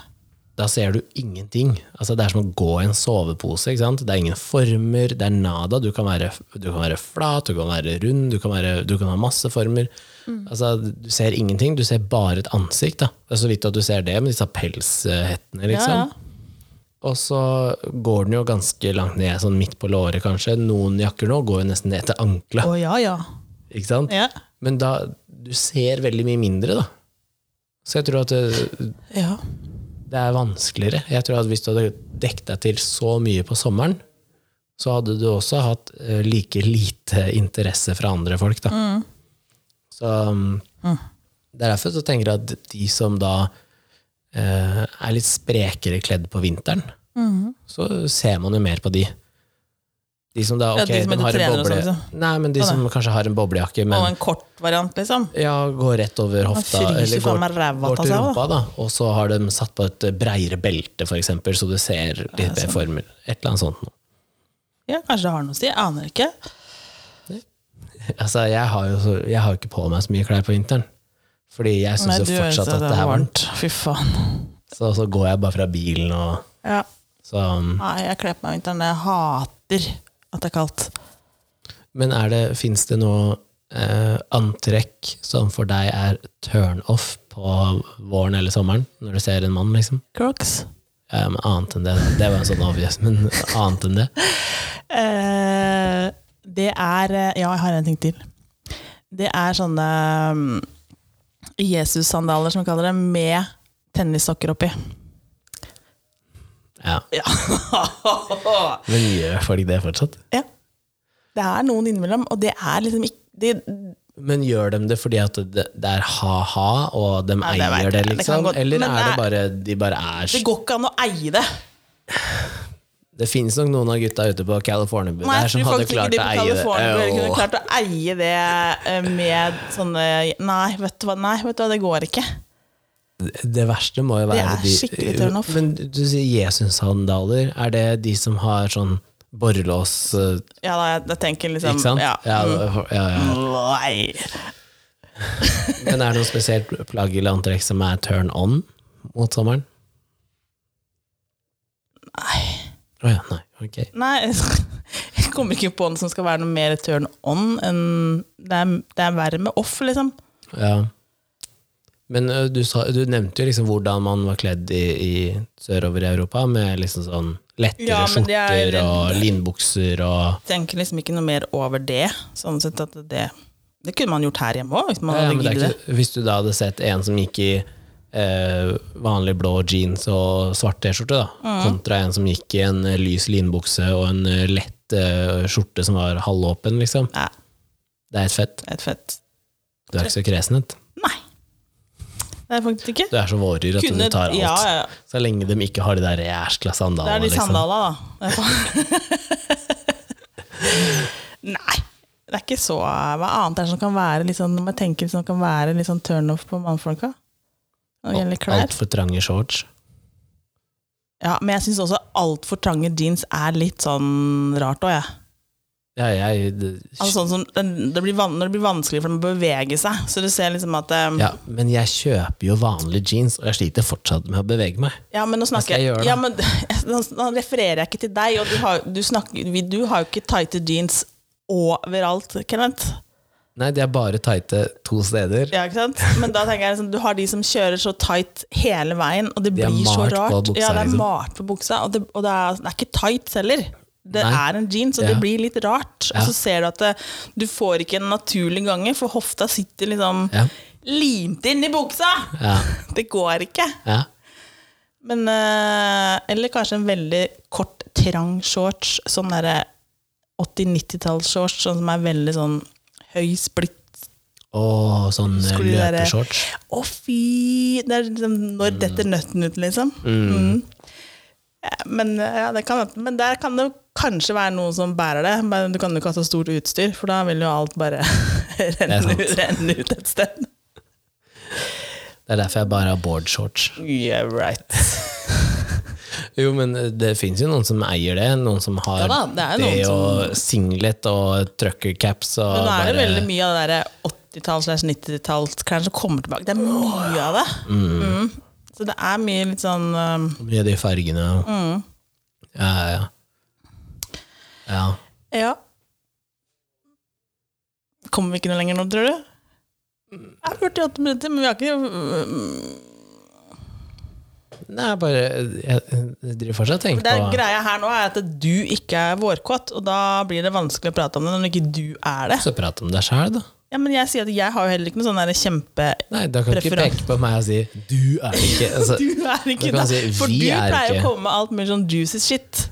Speaker 1: da ser du ingenting. Altså, det er som å gå i en sovepose. Ikke sant? Det er ingen former, det er nada. Du kan være, du kan være flat, du kan være rund, du kan, være, du kan ha masse former.
Speaker 2: Mm.
Speaker 1: Altså, du ser ingenting, du ser bare et ansikt. Da. Det er så vidt at du ser det med disse pelshettene.
Speaker 2: Ja,
Speaker 1: Liksom.
Speaker 2: ja.
Speaker 1: Og så går den jo ganske langt ned, sånn midt på låret kanskje. Noen jakker nå går jo nesten ned til
Speaker 2: Å
Speaker 1: ankla.
Speaker 2: ja, ja.
Speaker 1: Ikke sant?
Speaker 2: Ja.
Speaker 1: Men da, du ser veldig mye mindre, da. Så jeg tror at eh, det,
Speaker 2: ja.
Speaker 1: det er vanskeligere. Jeg tror at Hvis du hadde dekket deg til så mye på sommeren, så hadde du også hatt eh, like lite interesse fra andre folk. Da. Så um,
Speaker 2: Mm.
Speaker 1: Det er derfor så tenker jeg at de som da eh, er litt sprekere kledd på vinteren,
Speaker 2: Mhm.
Speaker 1: så ser man jo mer på de. De som da
Speaker 2: Ja,
Speaker 1: ok,
Speaker 2: de som
Speaker 1: de
Speaker 2: ikke
Speaker 1: har en
Speaker 2: trener og
Speaker 1: boble...
Speaker 2: sånn, liksom.
Speaker 1: Nei, men de
Speaker 2: Å,
Speaker 1: som kanskje har en boblejakke, men
Speaker 2: Og en kort variant, liksom?
Speaker 1: ja, går rett over hofta,
Speaker 2: fryser
Speaker 1: eller
Speaker 2: faen
Speaker 1: går,
Speaker 2: meg ræva
Speaker 1: går
Speaker 2: av
Speaker 1: til
Speaker 2: seg, da.
Speaker 1: rumpa, da. og så har de satt på et breiere belte, for eksempel, så du ser litt mer former. Et eller annet sånt. noe.
Speaker 2: Ja, Kanskje det har noe å si? Jeg aner ikke.
Speaker 1: Altså, jeg har jo så- jeg har jo ikke på meg så mye klær på vinteren, fordi jeg
Speaker 2: Nei,
Speaker 1: syns
Speaker 2: du
Speaker 1: jo fortsatt at det er varmt.
Speaker 2: Fy faen.
Speaker 1: Så, så går jeg bare fra bilen og
Speaker 2: Ja.
Speaker 1: så, um,
Speaker 2: Nei, jeg kler på meg om vinteren. Jeg hater at det er kaldt.
Speaker 1: Men er det, fins det noe eh, antrekk som for deg er turn-off på våren eller sommeren, når du ser en mann, liksom?
Speaker 2: Crocs.
Speaker 1: Ja, men annet enn det. Det var en sånn obvious, men annet enn det.
Speaker 2: Eh, det er eh, Ja, jeg har en ting til. Det er sånne mm, Jesus-sandaler, som vi kaller det, med tennissokker oppi.
Speaker 1: Ja.
Speaker 2: Ja.
Speaker 1: Men gjør folk det fortsatt?
Speaker 2: ja. Det er noen innimellom, og det er liksom ikke det,
Speaker 1: Men gjør de det fordi at det, det er ha-ha, og de
Speaker 2: Nei, det vet
Speaker 1: eier
Speaker 2: jeg.
Speaker 1: det,
Speaker 2: Det kan
Speaker 1: liksom?
Speaker 2: godt-
Speaker 1: Eller
Speaker 2: men
Speaker 1: er det
Speaker 2: det
Speaker 1: bare de bare er
Speaker 2: det går ikke an å eie det.
Speaker 1: Det finnes nok noen av gutta ute på Californiabu
Speaker 2: Nei,
Speaker 1: der
Speaker 2: jeg
Speaker 1: som
Speaker 2: tror
Speaker 1: hadde
Speaker 2: faktisk ikke
Speaker 1: klart å
Speaker 2: de på
Speaker 1: eie det.
Speaker 2: California kunne
Speaker 1: Åh.
Speaker 2: klart å eie det eh, med sånne Nei, vet du hva, nei, vet du hva det går ikke.
Speaker 1: Det verste må jo være
Speaker 2: er skikkelig turn off.
Speaker 1: Men du sier Jesus-sandaler. Er det de som har sånn borrelås eh,
Speaker 2: Ja, da, jeg, jeg tenker liksom
Speaker 1: Ikke sant?
Speaker 2: Ja.
Speaker 1: Ja, ja, ja.
Speaker 2: Nei.
Speaker 1: Men er det noe spesielt plagg eller antrekk som er turn on mot sommeren? Nei. Å ja, nei. Ok.
Speaker 2: Nei, jeg kommer ikke på noe som skal være noe mer turn on enn det er, det er verre med off, liksom.
Speaker 1: Ja. Men ø, du, sa, du nevnte jo liksom hvordan man var kledd i, i sørover i Europa, med liksom sånn lettere
Speaker 2: Ja, men det er-
Speaker 1: skjorter og linbukser og
Speaker 2: Tenker liksom ikke noe mer over det. Sånn sett at det Det kunne man gjort her hjemme òg, hvis man
Speaker 1: ja, ja,
Speaker 2: hadde
Speaker 1: men det er
Speaker 2: giddet.
Speaker 1: ikke, Hvis du da hadde sett en som gikk i eh, vanlig blå jeans og svart T-skjorte, da,
Speaker 2: Mm.
Speaker 1: kontra en som gikk i en eh, lys linbukse og en eh, lett eh, skjorte som var halvåpen, liksom.
Speaker 2: Nei,
Speaker 1: Det er et fett.
Speaker 2: det er et fett
Speaker 1: Du er ikke så kresen, vet du.
Speaker 2: Nei. Det er faktisk ikke.
Speaker 1: Du er så våryr at du tar alt.
Speaker 2: ja, ja, ja.
Speaker 1: Så lenge de ikke har de der jæskla
Speaker 2: Det
Speaker 1: sandalene.
Speaker 2: er de
Speaker 1: liksom.
Speaker 2: sandala, da. Nei. Det er ikke så Hva annet er det som kan være litt sånn, om jeg tenker, som kan være litt sånn turnoff på mannfolka? Når det gjelder klær.
Speaker 1: Altfor trange shorts.
Speaker 2: Ja, men jeg syns også altfor trange jeans er litt sånn rart òg, jeg.
Speaker 1: Ja, jeg, det,
Speaker 2: Altså, sånn som, den- det blir van, når det blir vanskelig for dem å bevege seg, så du ser liksom at eh,
Speaker 1: ja, men jeg kjøper jo vanlige jeans, og jeg sliter fortsatt med å bevege meg.
Speaker 2: Ja, men nå snakker
Speaker 1: skal jeg gjøre, da?
Speaker 2: ja, men, nå nå refererer jeg ikke til deg, og du har, du snakker, vi- du har jo ikke tighte jeans overalt, Kenneth.
Speaker 1: Nei, de er bare tighte to steder.
Speaker 2: Ja, ikke sant? Men da tenker jeg liksom, du har de som kjører så tight hele veien, og det
Speaker 1: De er
Speaker 2: blir så
Speaker 1: malt på
Speaker 2: rart.
Speaker 1: buksa,
Speaker 2: ja, det er
Speaker 1: liksom.
Speaker 2: malt på buksa, og det, og det, er, det er ikke tight heller. Det
Speaker 1: Nei.
Speaker 2: er en jeans, og
Speaker 1: Ja.
Speaker 2: det blir litt rart.
Speaker 1: Ja.
Speaker 2: Og så ser du at det, du får ikke en naturlig gange, for hofta sitter liksom
Speaker 1: Ja.
Speaker 2: limt inn i buksa!
Speaker 1: Ja,
Speaker 2: Det går ikke.
Speaker 1: ja.
Speaker 2: Men eh, Eller kanskje en veldig kort, trang shorts. Sånn derre 80-90-tallsshorts, sånn som er veldig sånn høy splitt.
Speaker 1: Og sånn eh,
Speaker 2: Skulle være-
Speaker 1: løpeshorts.
Speaker 2: Å, fy! Det er liksom, når detter nøtten ut, liksom. Mm. Ja, Men, eh, ja, det kan, men der kan det kanskje være noen som bærer det, men du kan jo ikke ha så stort utstyr, for da vil jo alt bare renne,
Speaker 1: sant.
Speaker 2: ut- renne ut et sted.
Speaker 1: Det er derfor jeg bare har boardshorts.
Speaker 2: Yeah, right.
Speaker 1: Jo, men eh, det fins jo noen som eier det. Noen som har
Speaker 2: Ja da, det er
Speaker 1: det
Speaker 2: noen
Speaker 1: og singlet og truckercaps og
Speaker 2: Men nå er det
Speaker 1: bare-
Speaker 2: veldig mye av det derre 80-talls-90-tallsklærne som kommer tilbake. Det er mye av det. Mm. Så det er mye litt sånn um,
Speaker 1: mye av de fargene.
Speaker 2: Mm.
Speaker 1: Ja, ja, ja. ja.
Speaker 2: Ja. Kommer vi ikke noe lenger nå, tror du? Det er 48 minutter, men vi har mm, ikke
Speaker 1: Nei, jeg bare Jeg jeg driver fortsatt og tenker
Speaker 2: det er,
Speaker 1: på
Speaker 2: Greia her nå er at du ikke er vårkåt, og da blir det vanskelig å prate om det når ikke du er det.
Speaker 1: Så prat om deg sjæl, da.
Speaker 2: Ja, men jeg sier at jeg har jo heller ikke noe sånn der kjempe...
Speaker 1: Nei, da kan du ikke
Speaker 2: Preferanse.
Speaker 1: peke på meg og si 'du er ikke' altså,
Speaker 2: Du er ikke
Speaker 1: Du kan
Speaker 2: det,
Speaker 1: si,
Speaker 2: for
Speaker 1: vi
Speaker 2: du
Speaker 1: er
Speaker 2: pleier
Speaker 1: ikke.
Speaker 2: å komme med alt mulig sånn juicy shit.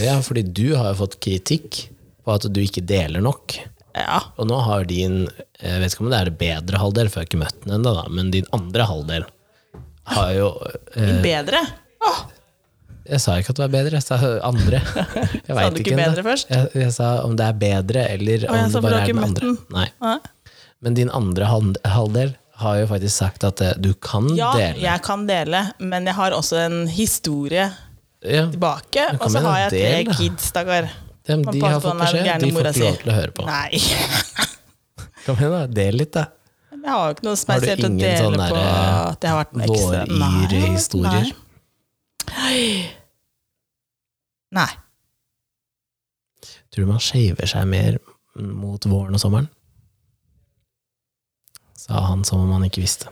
Speaker 1: Ja, fordi du har jo fått kritikk på at du ikke deler nok.
Speaker 2: Ja,
Speaker 1: Og nå har din Jeg vet ikke om det er det bedre halvdel, for jeg har ikke møtt den ennå, da, men din andre halvdel har jo eh,
Speaker 2: bedre. Åh,
Speaker 1: Jeg sa ikke at det var bedre, jeg sa andre. Jeg
Speaker 2: Sa
Speaker 1: vet
Speaker 2: du ikke
Speaker 1: om det-
Speaker 2: bedre først?
Speaker 1: Jeg, jeg sa om det er bedre, eller om
Speaker 2: jeg sa,
Speaker 1: det
Speaker 2: for du
Speaker 1: bare
Speaker 2: har
Speaker 1: er
Speaker 2: ikke
Speaker 1: den
Speaker 2: møtt
Speaker 1: andre.
Speaker 2: den.
Speaker 1: Nei.
Speaker 2: Nei.
Speaker 1: Men din andre hand- halvdel har jo faktisk sagt at eh, du kan
Speaker 2: ja,
Speaker 1: dele.
Speaker 2: jeg kan dele, men jeg har også en historie
Speaker 1: Ja, de,
Speaker 2: tilbake,
Speaker 1: Men
Speaker 2: og
Speaker 1: kom
Speaker 2: så
Speaker 1: igjen,
Speaker 2: har jeg
Speaker 1: del, da.
Speaker 2: tre kids, stakkar.
Speaker 1: de,
Speaker 2: Man
Speaker 1: har fått
Speaker 2: passer på den der
Speaker 1: beskjed,
Speaker 2: gærne
Speaker 1: de får
Speaker 2: mora
Speaker 1: ikke
Speaker 2: si.
Speaker 1: lov til å høre på.
Speaker 2: Nei,
Speaker 1: Kom igjen, da. Del litt, da.
Speaker 2: jeg har jo ikke
Speaker 1: Har
Speaker 2: noe
Speaker 1: du
Speaker 2: spesielt å
Speaker 1: ingen
Speaker 2: dele
Speaker 1: sånn
Speaker 2: på
Speaker 1: derre
Speaker 2: at jeg har vært med ekstra. Nei,
Speaker 1: Våryrhistorier.
Speaker 2: Nei. Nei.
Speaker 1: Tror du man shaver seg mer mot våren og sommeren? Sa han som om han ikke visste.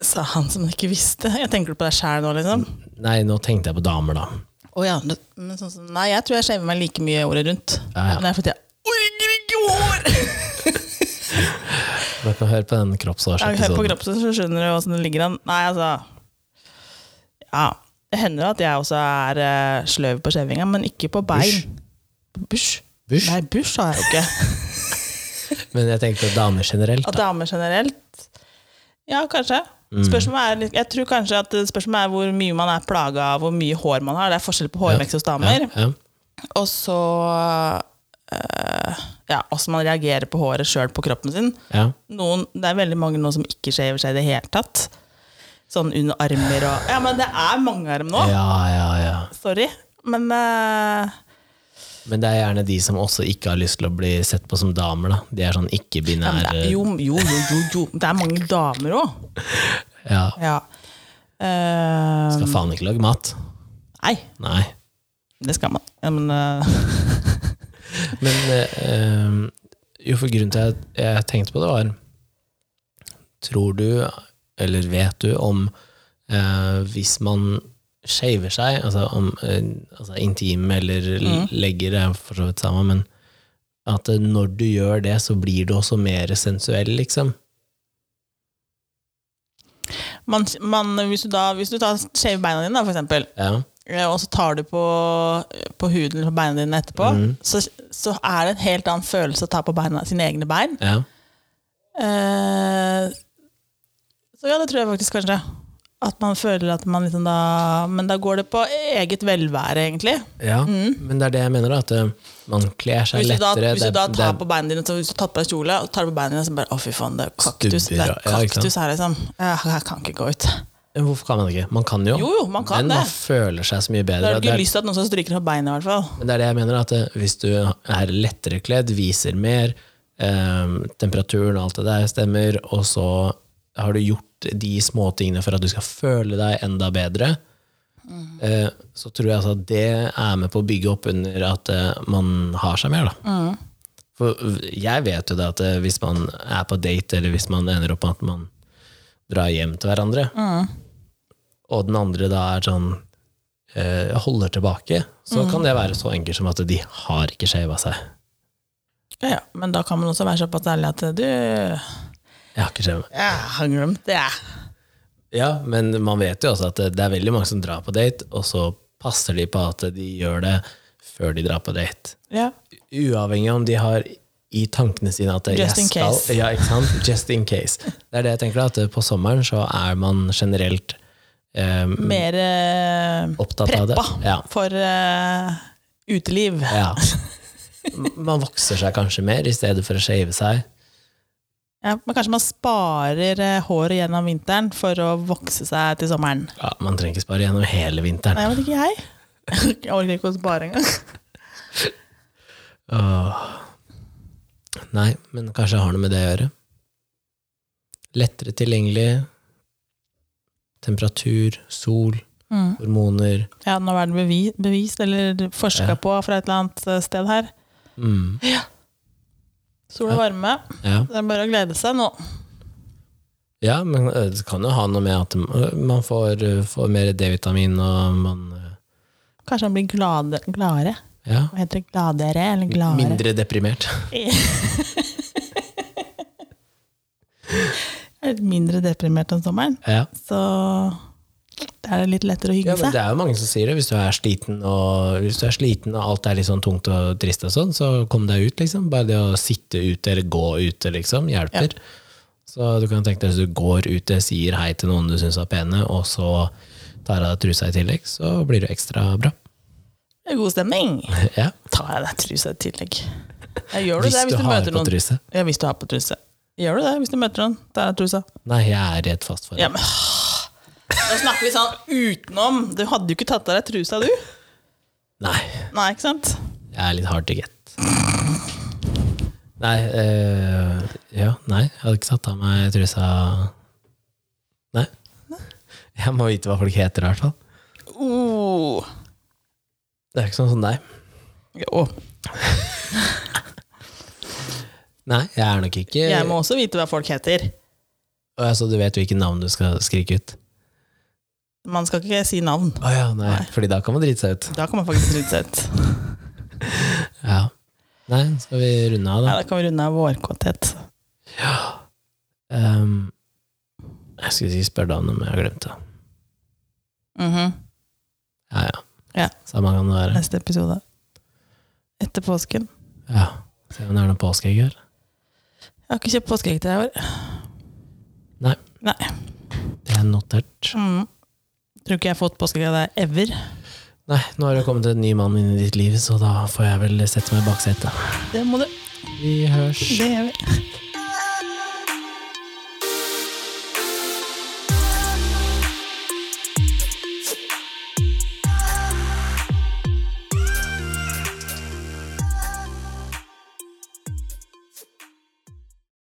Speaker 2: Sa han som ikke visste. Jeg tenker på deg sjæl nå, liksom.
Speaker 1: Nei, nå tenkte jeg på damer, da.
Speaker 2: Å ja, det- men sånn som, nei, jeg tror jeg shaver meg like mye året rundt.
Speaker 1: Ja, ja.
Speaker 2: Men det er fordi jeg orker ikke hår!
Speaker 1: Dere kan høre på den
Speaker 2: Jeg hører på
Speaker 1: kroppsårsepisoden.
Speaker 2: kroppen, så skjønner du åssen det ligger an. Nei, altså Ja. Det hender jo at jeg også er eh, sløv på skjevinga, men ikke på
Speaker 1: Bush.
Speaker 2: bein. Bush?
Speaker 1: Bush.
Speaker 2: Nei, bush har jeg jo ikke.
Speaker 1: Men jeg tenkte damer generelt.
Speaker 2: At damer generelt Ja, kanskje.
Speaker 1: Mm.
Speaker 2: Spørsmålet er, litt- jeg tror kanskje at spørsmålet er hvor mye man er plaga av, hvor mye hår man har. Det er forskjell på hårvekst hos damer.
Speaker 1: Ja, ja.
Speaker 2: Og så øh, ja, åssen man reagerer på håret sjøl på kroppen sin.
Speaker 1: Ja.
Speaker 2: Noen, det er veldig mange nå som ikke shaver seg i det hele tatt. Sånn under armer og Ja, men det er mange arm nå!
Speaker 1: ja, ja, ja.
Speaker 2: Sorry. Men øh,
Speaker 1: Men det er gjerne de som også ikke har lyst til å bli sett på som damer, da. De er sånn
Speaker 2: ja, men
Speaker 1: ikke-binære.
Speaker 2: det er, jo, jo, jo, jo, jo. Det er mange damer òg.
Speaker 1: Ja.
Speaker 2: Ja. Eh,
Speaker 1: Skal faen ikke lage mat.
Speaker 2: nei,
Speaker 1: Nei.
Speaker 2: det skal man. Ja, men øh,
Speaker 1: eh, Men eh, eh, jo, for grunnen til at jeg tenkte på det, var tror du, eller vet du, om eh, hvis man shaver seg, altså om eh, altså intim eller
Speaker 2: Mm.
Speaker 1: legger, det er for så vidt samme, men at eh, når du gjør det, så blir du også mer sensuell, liksom.
Speaker 2: Man, man, hvis, du da, hvis du tar skjeve beina dine, da, for eksempel,
Speaker 1: Ja.
Speaker 2: eh, og så tar du på, på huden eller på beina dine etterpå,
Speaker 1: Mhm.
Speaker 2: så, så er det en helt annen følelse å ta på beina, sine egne bein.
Speaker 1: ja.
Speaker 2: Eh, så ja, det tror jeg faktisk kanskje. At man føler at man liksom da Men da går det på eget velvære, egentlig.
Speaker 1: Ja, men det er det jeg mener, da, at eh, man kler seg
Speaker 2: Mm. Hvis du da,
Speaker 1: lettere.
Speaker 2: hvis
Speaker 1: det
Speaker 2: du
Speaker 1: er-
Speaker 2: da
Speaker 1: det
Speaker 2: tar
Speaker 1: er-
Speaker 2: på beina dine, så hvis du tar på deg kjole og tar på beina dine, så bare Å, fy faen, det er kaktus,
Speaker 1: Stubber, ja,
Speaker 2: det er
Speaker 1: ikke sant?
Speaker 2: kaktus her, liksom. Jeg, jeg kan ikke gå ut.
Speaker 1: Hvorfor kan man ikke? Man kan jo.
Speaker 2: Jo, jo, man kan
Speaker 1: men man
Speaker 2: det.
Speaker 1: føler seg så mye
Speaker 2: Da
Speaker 1: bedre.
Speaker 2: har
Speaker 1: og
Speaker 2: du
Speaker 1: det
Speaker 2: ikke
Speaker 1: er-
Speaker 2: lyst til at noen skal stryke deg på beina, i hvert fall.
Speaker 1: Men det er det jeg mener, at eh, hvis du er lettere kledd, viser mer, eh, temperaturen og alt det der stemmer, og så har du gjort de småtingene for at du skal føle deg enda bedre, eh, så tror jeg altså at det er med på å bygge opp under at eh, man har seg mer, da. For jeg vet jo det at eh, hvis man er på date, eller hvis man ender opp med at man drar hjem til hverandre, og den andre da er sånn eh, holder tilbake, så
Speaker 2: Mm.
Speaker 1: kan det være så enkelt som at de har ikke shava seg.
Speaker 2: Ja, ja. Men da kan man også være såpass ærlig at du
Speaker 1: Jeg
Speaker 2: Jeg
Speaker 1: har ikke shava.
Speaker 2: har glemt det, jeg.
Speaker 1: Ja, men man vet jo også at det er veldig mange som drar på date, og så passer de på at de gjør det før de drar på date.
Speaker 2: Ja.
Speaker 1: Uavhengig om de har i tankene sine at jeg
Speaker 2: Just in
Speaker 1: skal-
Speaker 2: case.
Speaker 1: Ja, ikke sant? Just in case. Det er det jeg tenker, da, at på sommeren så er man generelt eh,
Speaker 2: Mm. Mer eh,
Speaker 1: opptatt av det.
Speaker 2: preppa
Speaker 1: Ja.
Speaker 2: for eh, uteliv.
Speaker 1: ja. Man vokser seg kanskje mer i stedet for å shave seg.
Speaker 2: Ja, men kanskje man sparer eh, håret gjennom vinteren for å vokse seg til sommeren.
Speaker 1: Ja, man trenger ikke spare gjennom hele vinteren.
Speaker 2: Nei, jeg vet ikke jeg. Jeg orker ikke å spare engang.
Speaker 1: Åh. Nei, men kanskje jeg har noe med det å gjøre. Lettere tilgjengelig. Temperatur, sol,
Speaker 2: Mm.
Speaker 1: hormoner.
Speaker 2: Ja, nå er det bevi bevist, eller forska
Speaker 1: Ja.
Speaker 2: på fra et eller annet eh, sted her.
Speaker 1: Mm,
Speaker 2: Sol og varme.
Speaker 1: ja.
Speaker 2: Det er bare å glede seg nå.
Speaker 1: ja, men eh, det kan jo ha noe med at eh, man får, eh, får mer D-vitamin, og man eh,
Speaker 2: Kanskje man blir glade, gladere.
Speaker 1: ja,
Speaker 2: Hva heter det? Gladere eller gladere?
Speaker 1: mindre deprimert.
Speaker 2: Jeg er litt mindre deprimert om sommeren,
Speaker 1: Ja.
Speaker 2: så da er det litt lettere å
Speaker 1: Ja,
Speaker 2: hygge
Speaker 1: men
Speaker 2: seg.
Speaker 1: det er jo mange som sier det. Hvis du er sliten, og, hvis du er sliten, og alt er litt sånn tungt og trist, og sånn, så kom deg ut. liksom. Bare det å sitte ute eller gå ute liksom, hjelper. Så du kan tenke deg hvis du går ute, sier hei til noen du syns er pene, og så tar av deg trusa i tillegg, så blir du ekstra bra.
Speaker 2: Det er god stemning.
Speaker 1: ja.
Speaker 2: Tar jeg deg trusa i tillegg. Ja, gjør du
Speaker 1: Hvis
Speaker 2: det
Speaker 1: du,
Speaker 2: hvis du,
Speaker 1: har
Speaker 2: møter
Speaker 1: på
Speaker 2: noen?
Speaker 1: truse.
Speaker 2: Ja, hvis du har på truse. Gjør du det hvis du møter noen? Tar jeg trusa.
Speaker 1: Nei, jeg er i et fast forhold.
Speaker 2: Ja, men Da snakker vi sånn utenom. Du hadde jo ikke tatt av deg trusa, du.
Speaker 1: Nei,
Speaker 2: Nei, ikke sant?
Speaker 1: jeg er litt hard to get. Nei, eh, ja, nei, jeg hadde ikke tatt av meg trusa Nei. Jeg må vite hva folk heter, i hvert fall.
Speaker 2: Oh.
Speaker 1: Det er ikke sånn som deg.
Speaker 2: Jo.
Speaker 1: Nei, jeg er nok ikke
Speaker 2: Jeg må også vite hva folk heter.
Speaker 1: Å, ja, Så du vet hvilket navn du skal skrike ut?
Speaker 2: Man skal ikke si navn.
Speaker 1: Å ja, nei, fordi da kan man drite seg ut.
Speaker 2: Da kan man faktisk drite seg ut.
Speaker 1: Ja. Nei, skal vi runde av, da?
Speaker 2: Nei, Da kan vi runde av vårkåthet.
Speaker 1: Ehm, jeg skulle si spør deg om noe, men jeg har glemt det.
Speaker 2: Mhm.
Speaker 1: Ja, ja.
Speaker 2: Ja.
Speaker 1: Samme kan det være.
Speaker 2: Neste episode. Etter påsken.
Speaker 1: Ja. Se om det er noe påskeegg her.
Speaker 2: Jeg har ikke kjøpt påskeegg til deg i år.
Speaker 1: Nei.
Speaker 2: Nei.
Speaker 1: Det er notert.
Speaker 2: Mm. Tror ikke jeg har fått påskeegg av deg ever.
Speaker 1: Nei, nå har det kommet en ny mann inn i ditt liv, så da får jeg vel sette meg bak setet.
Speaker 2: Det må du.
Speaker 1: Vi hørs.
Speaker 2: Det gjør vi.